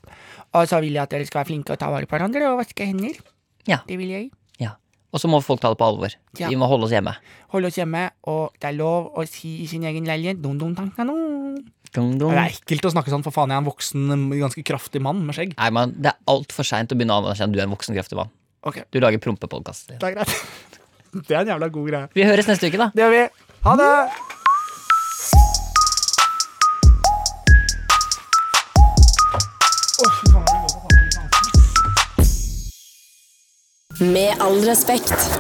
S3: Og så vil jeg at dere skal være flinke og ta vare på hverandre og vaske hender.
S2: Ja.
S3: Det vil jeg.
S2: Ja. Og så må folk ta det på alvor.
S3: Ja.
S2: Vi må holde oss hjemme.
S3: Holde oss hjemme, og det er lov å si i sin egen leilighet dun, dun, dun, dun, dun.
S2: Dong, dong.
S3: Det er ekkelt å snakke sånn, for faen, jeg er en voksen, ganske kraftig mann med skjegg.
S2: Nei, man, det er altfor seint å begynne å anerkjenne at du er en voksen, kraftig mann.
S3: Ok,
S2: Du lager prompepodkast.
S3: det er greit. (laughs) Det er en jævla god greie.
S2: Vi høres neste uke, da.
S3: Det gjør vi. Ha det!
S1: Med all respekt.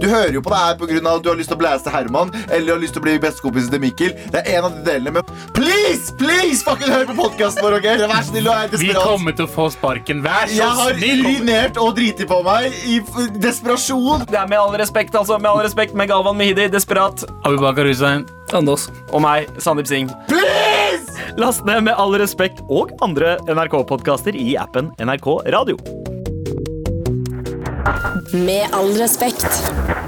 S7: Du hører jo på det her på grunn av at du har lyst til å blæse til Herman eller har lyst til å bli bestekompisen til Mikkel. Det er en av de delene, men please, please, fucking hør på podkasten vår, OK? Vær så snill og er
S8: Vi
S7: desperat.
S8: kommer til å få sparken. Vær så
S7: Jeg har
S8: snill!
S7: urinert og driti på meg i f- desperasjon.
S9: Det er med all respekt, altså. Med all respekt med Galvan Mehidi, Desperat,
S8: Abubakar Hussein.
S9: og meg, Sandeep Singh.
S7: Please!
S9: Last ned Med all respekt og andre NRK-podkaster i appen NRK Radio.
S1: Med all respekt.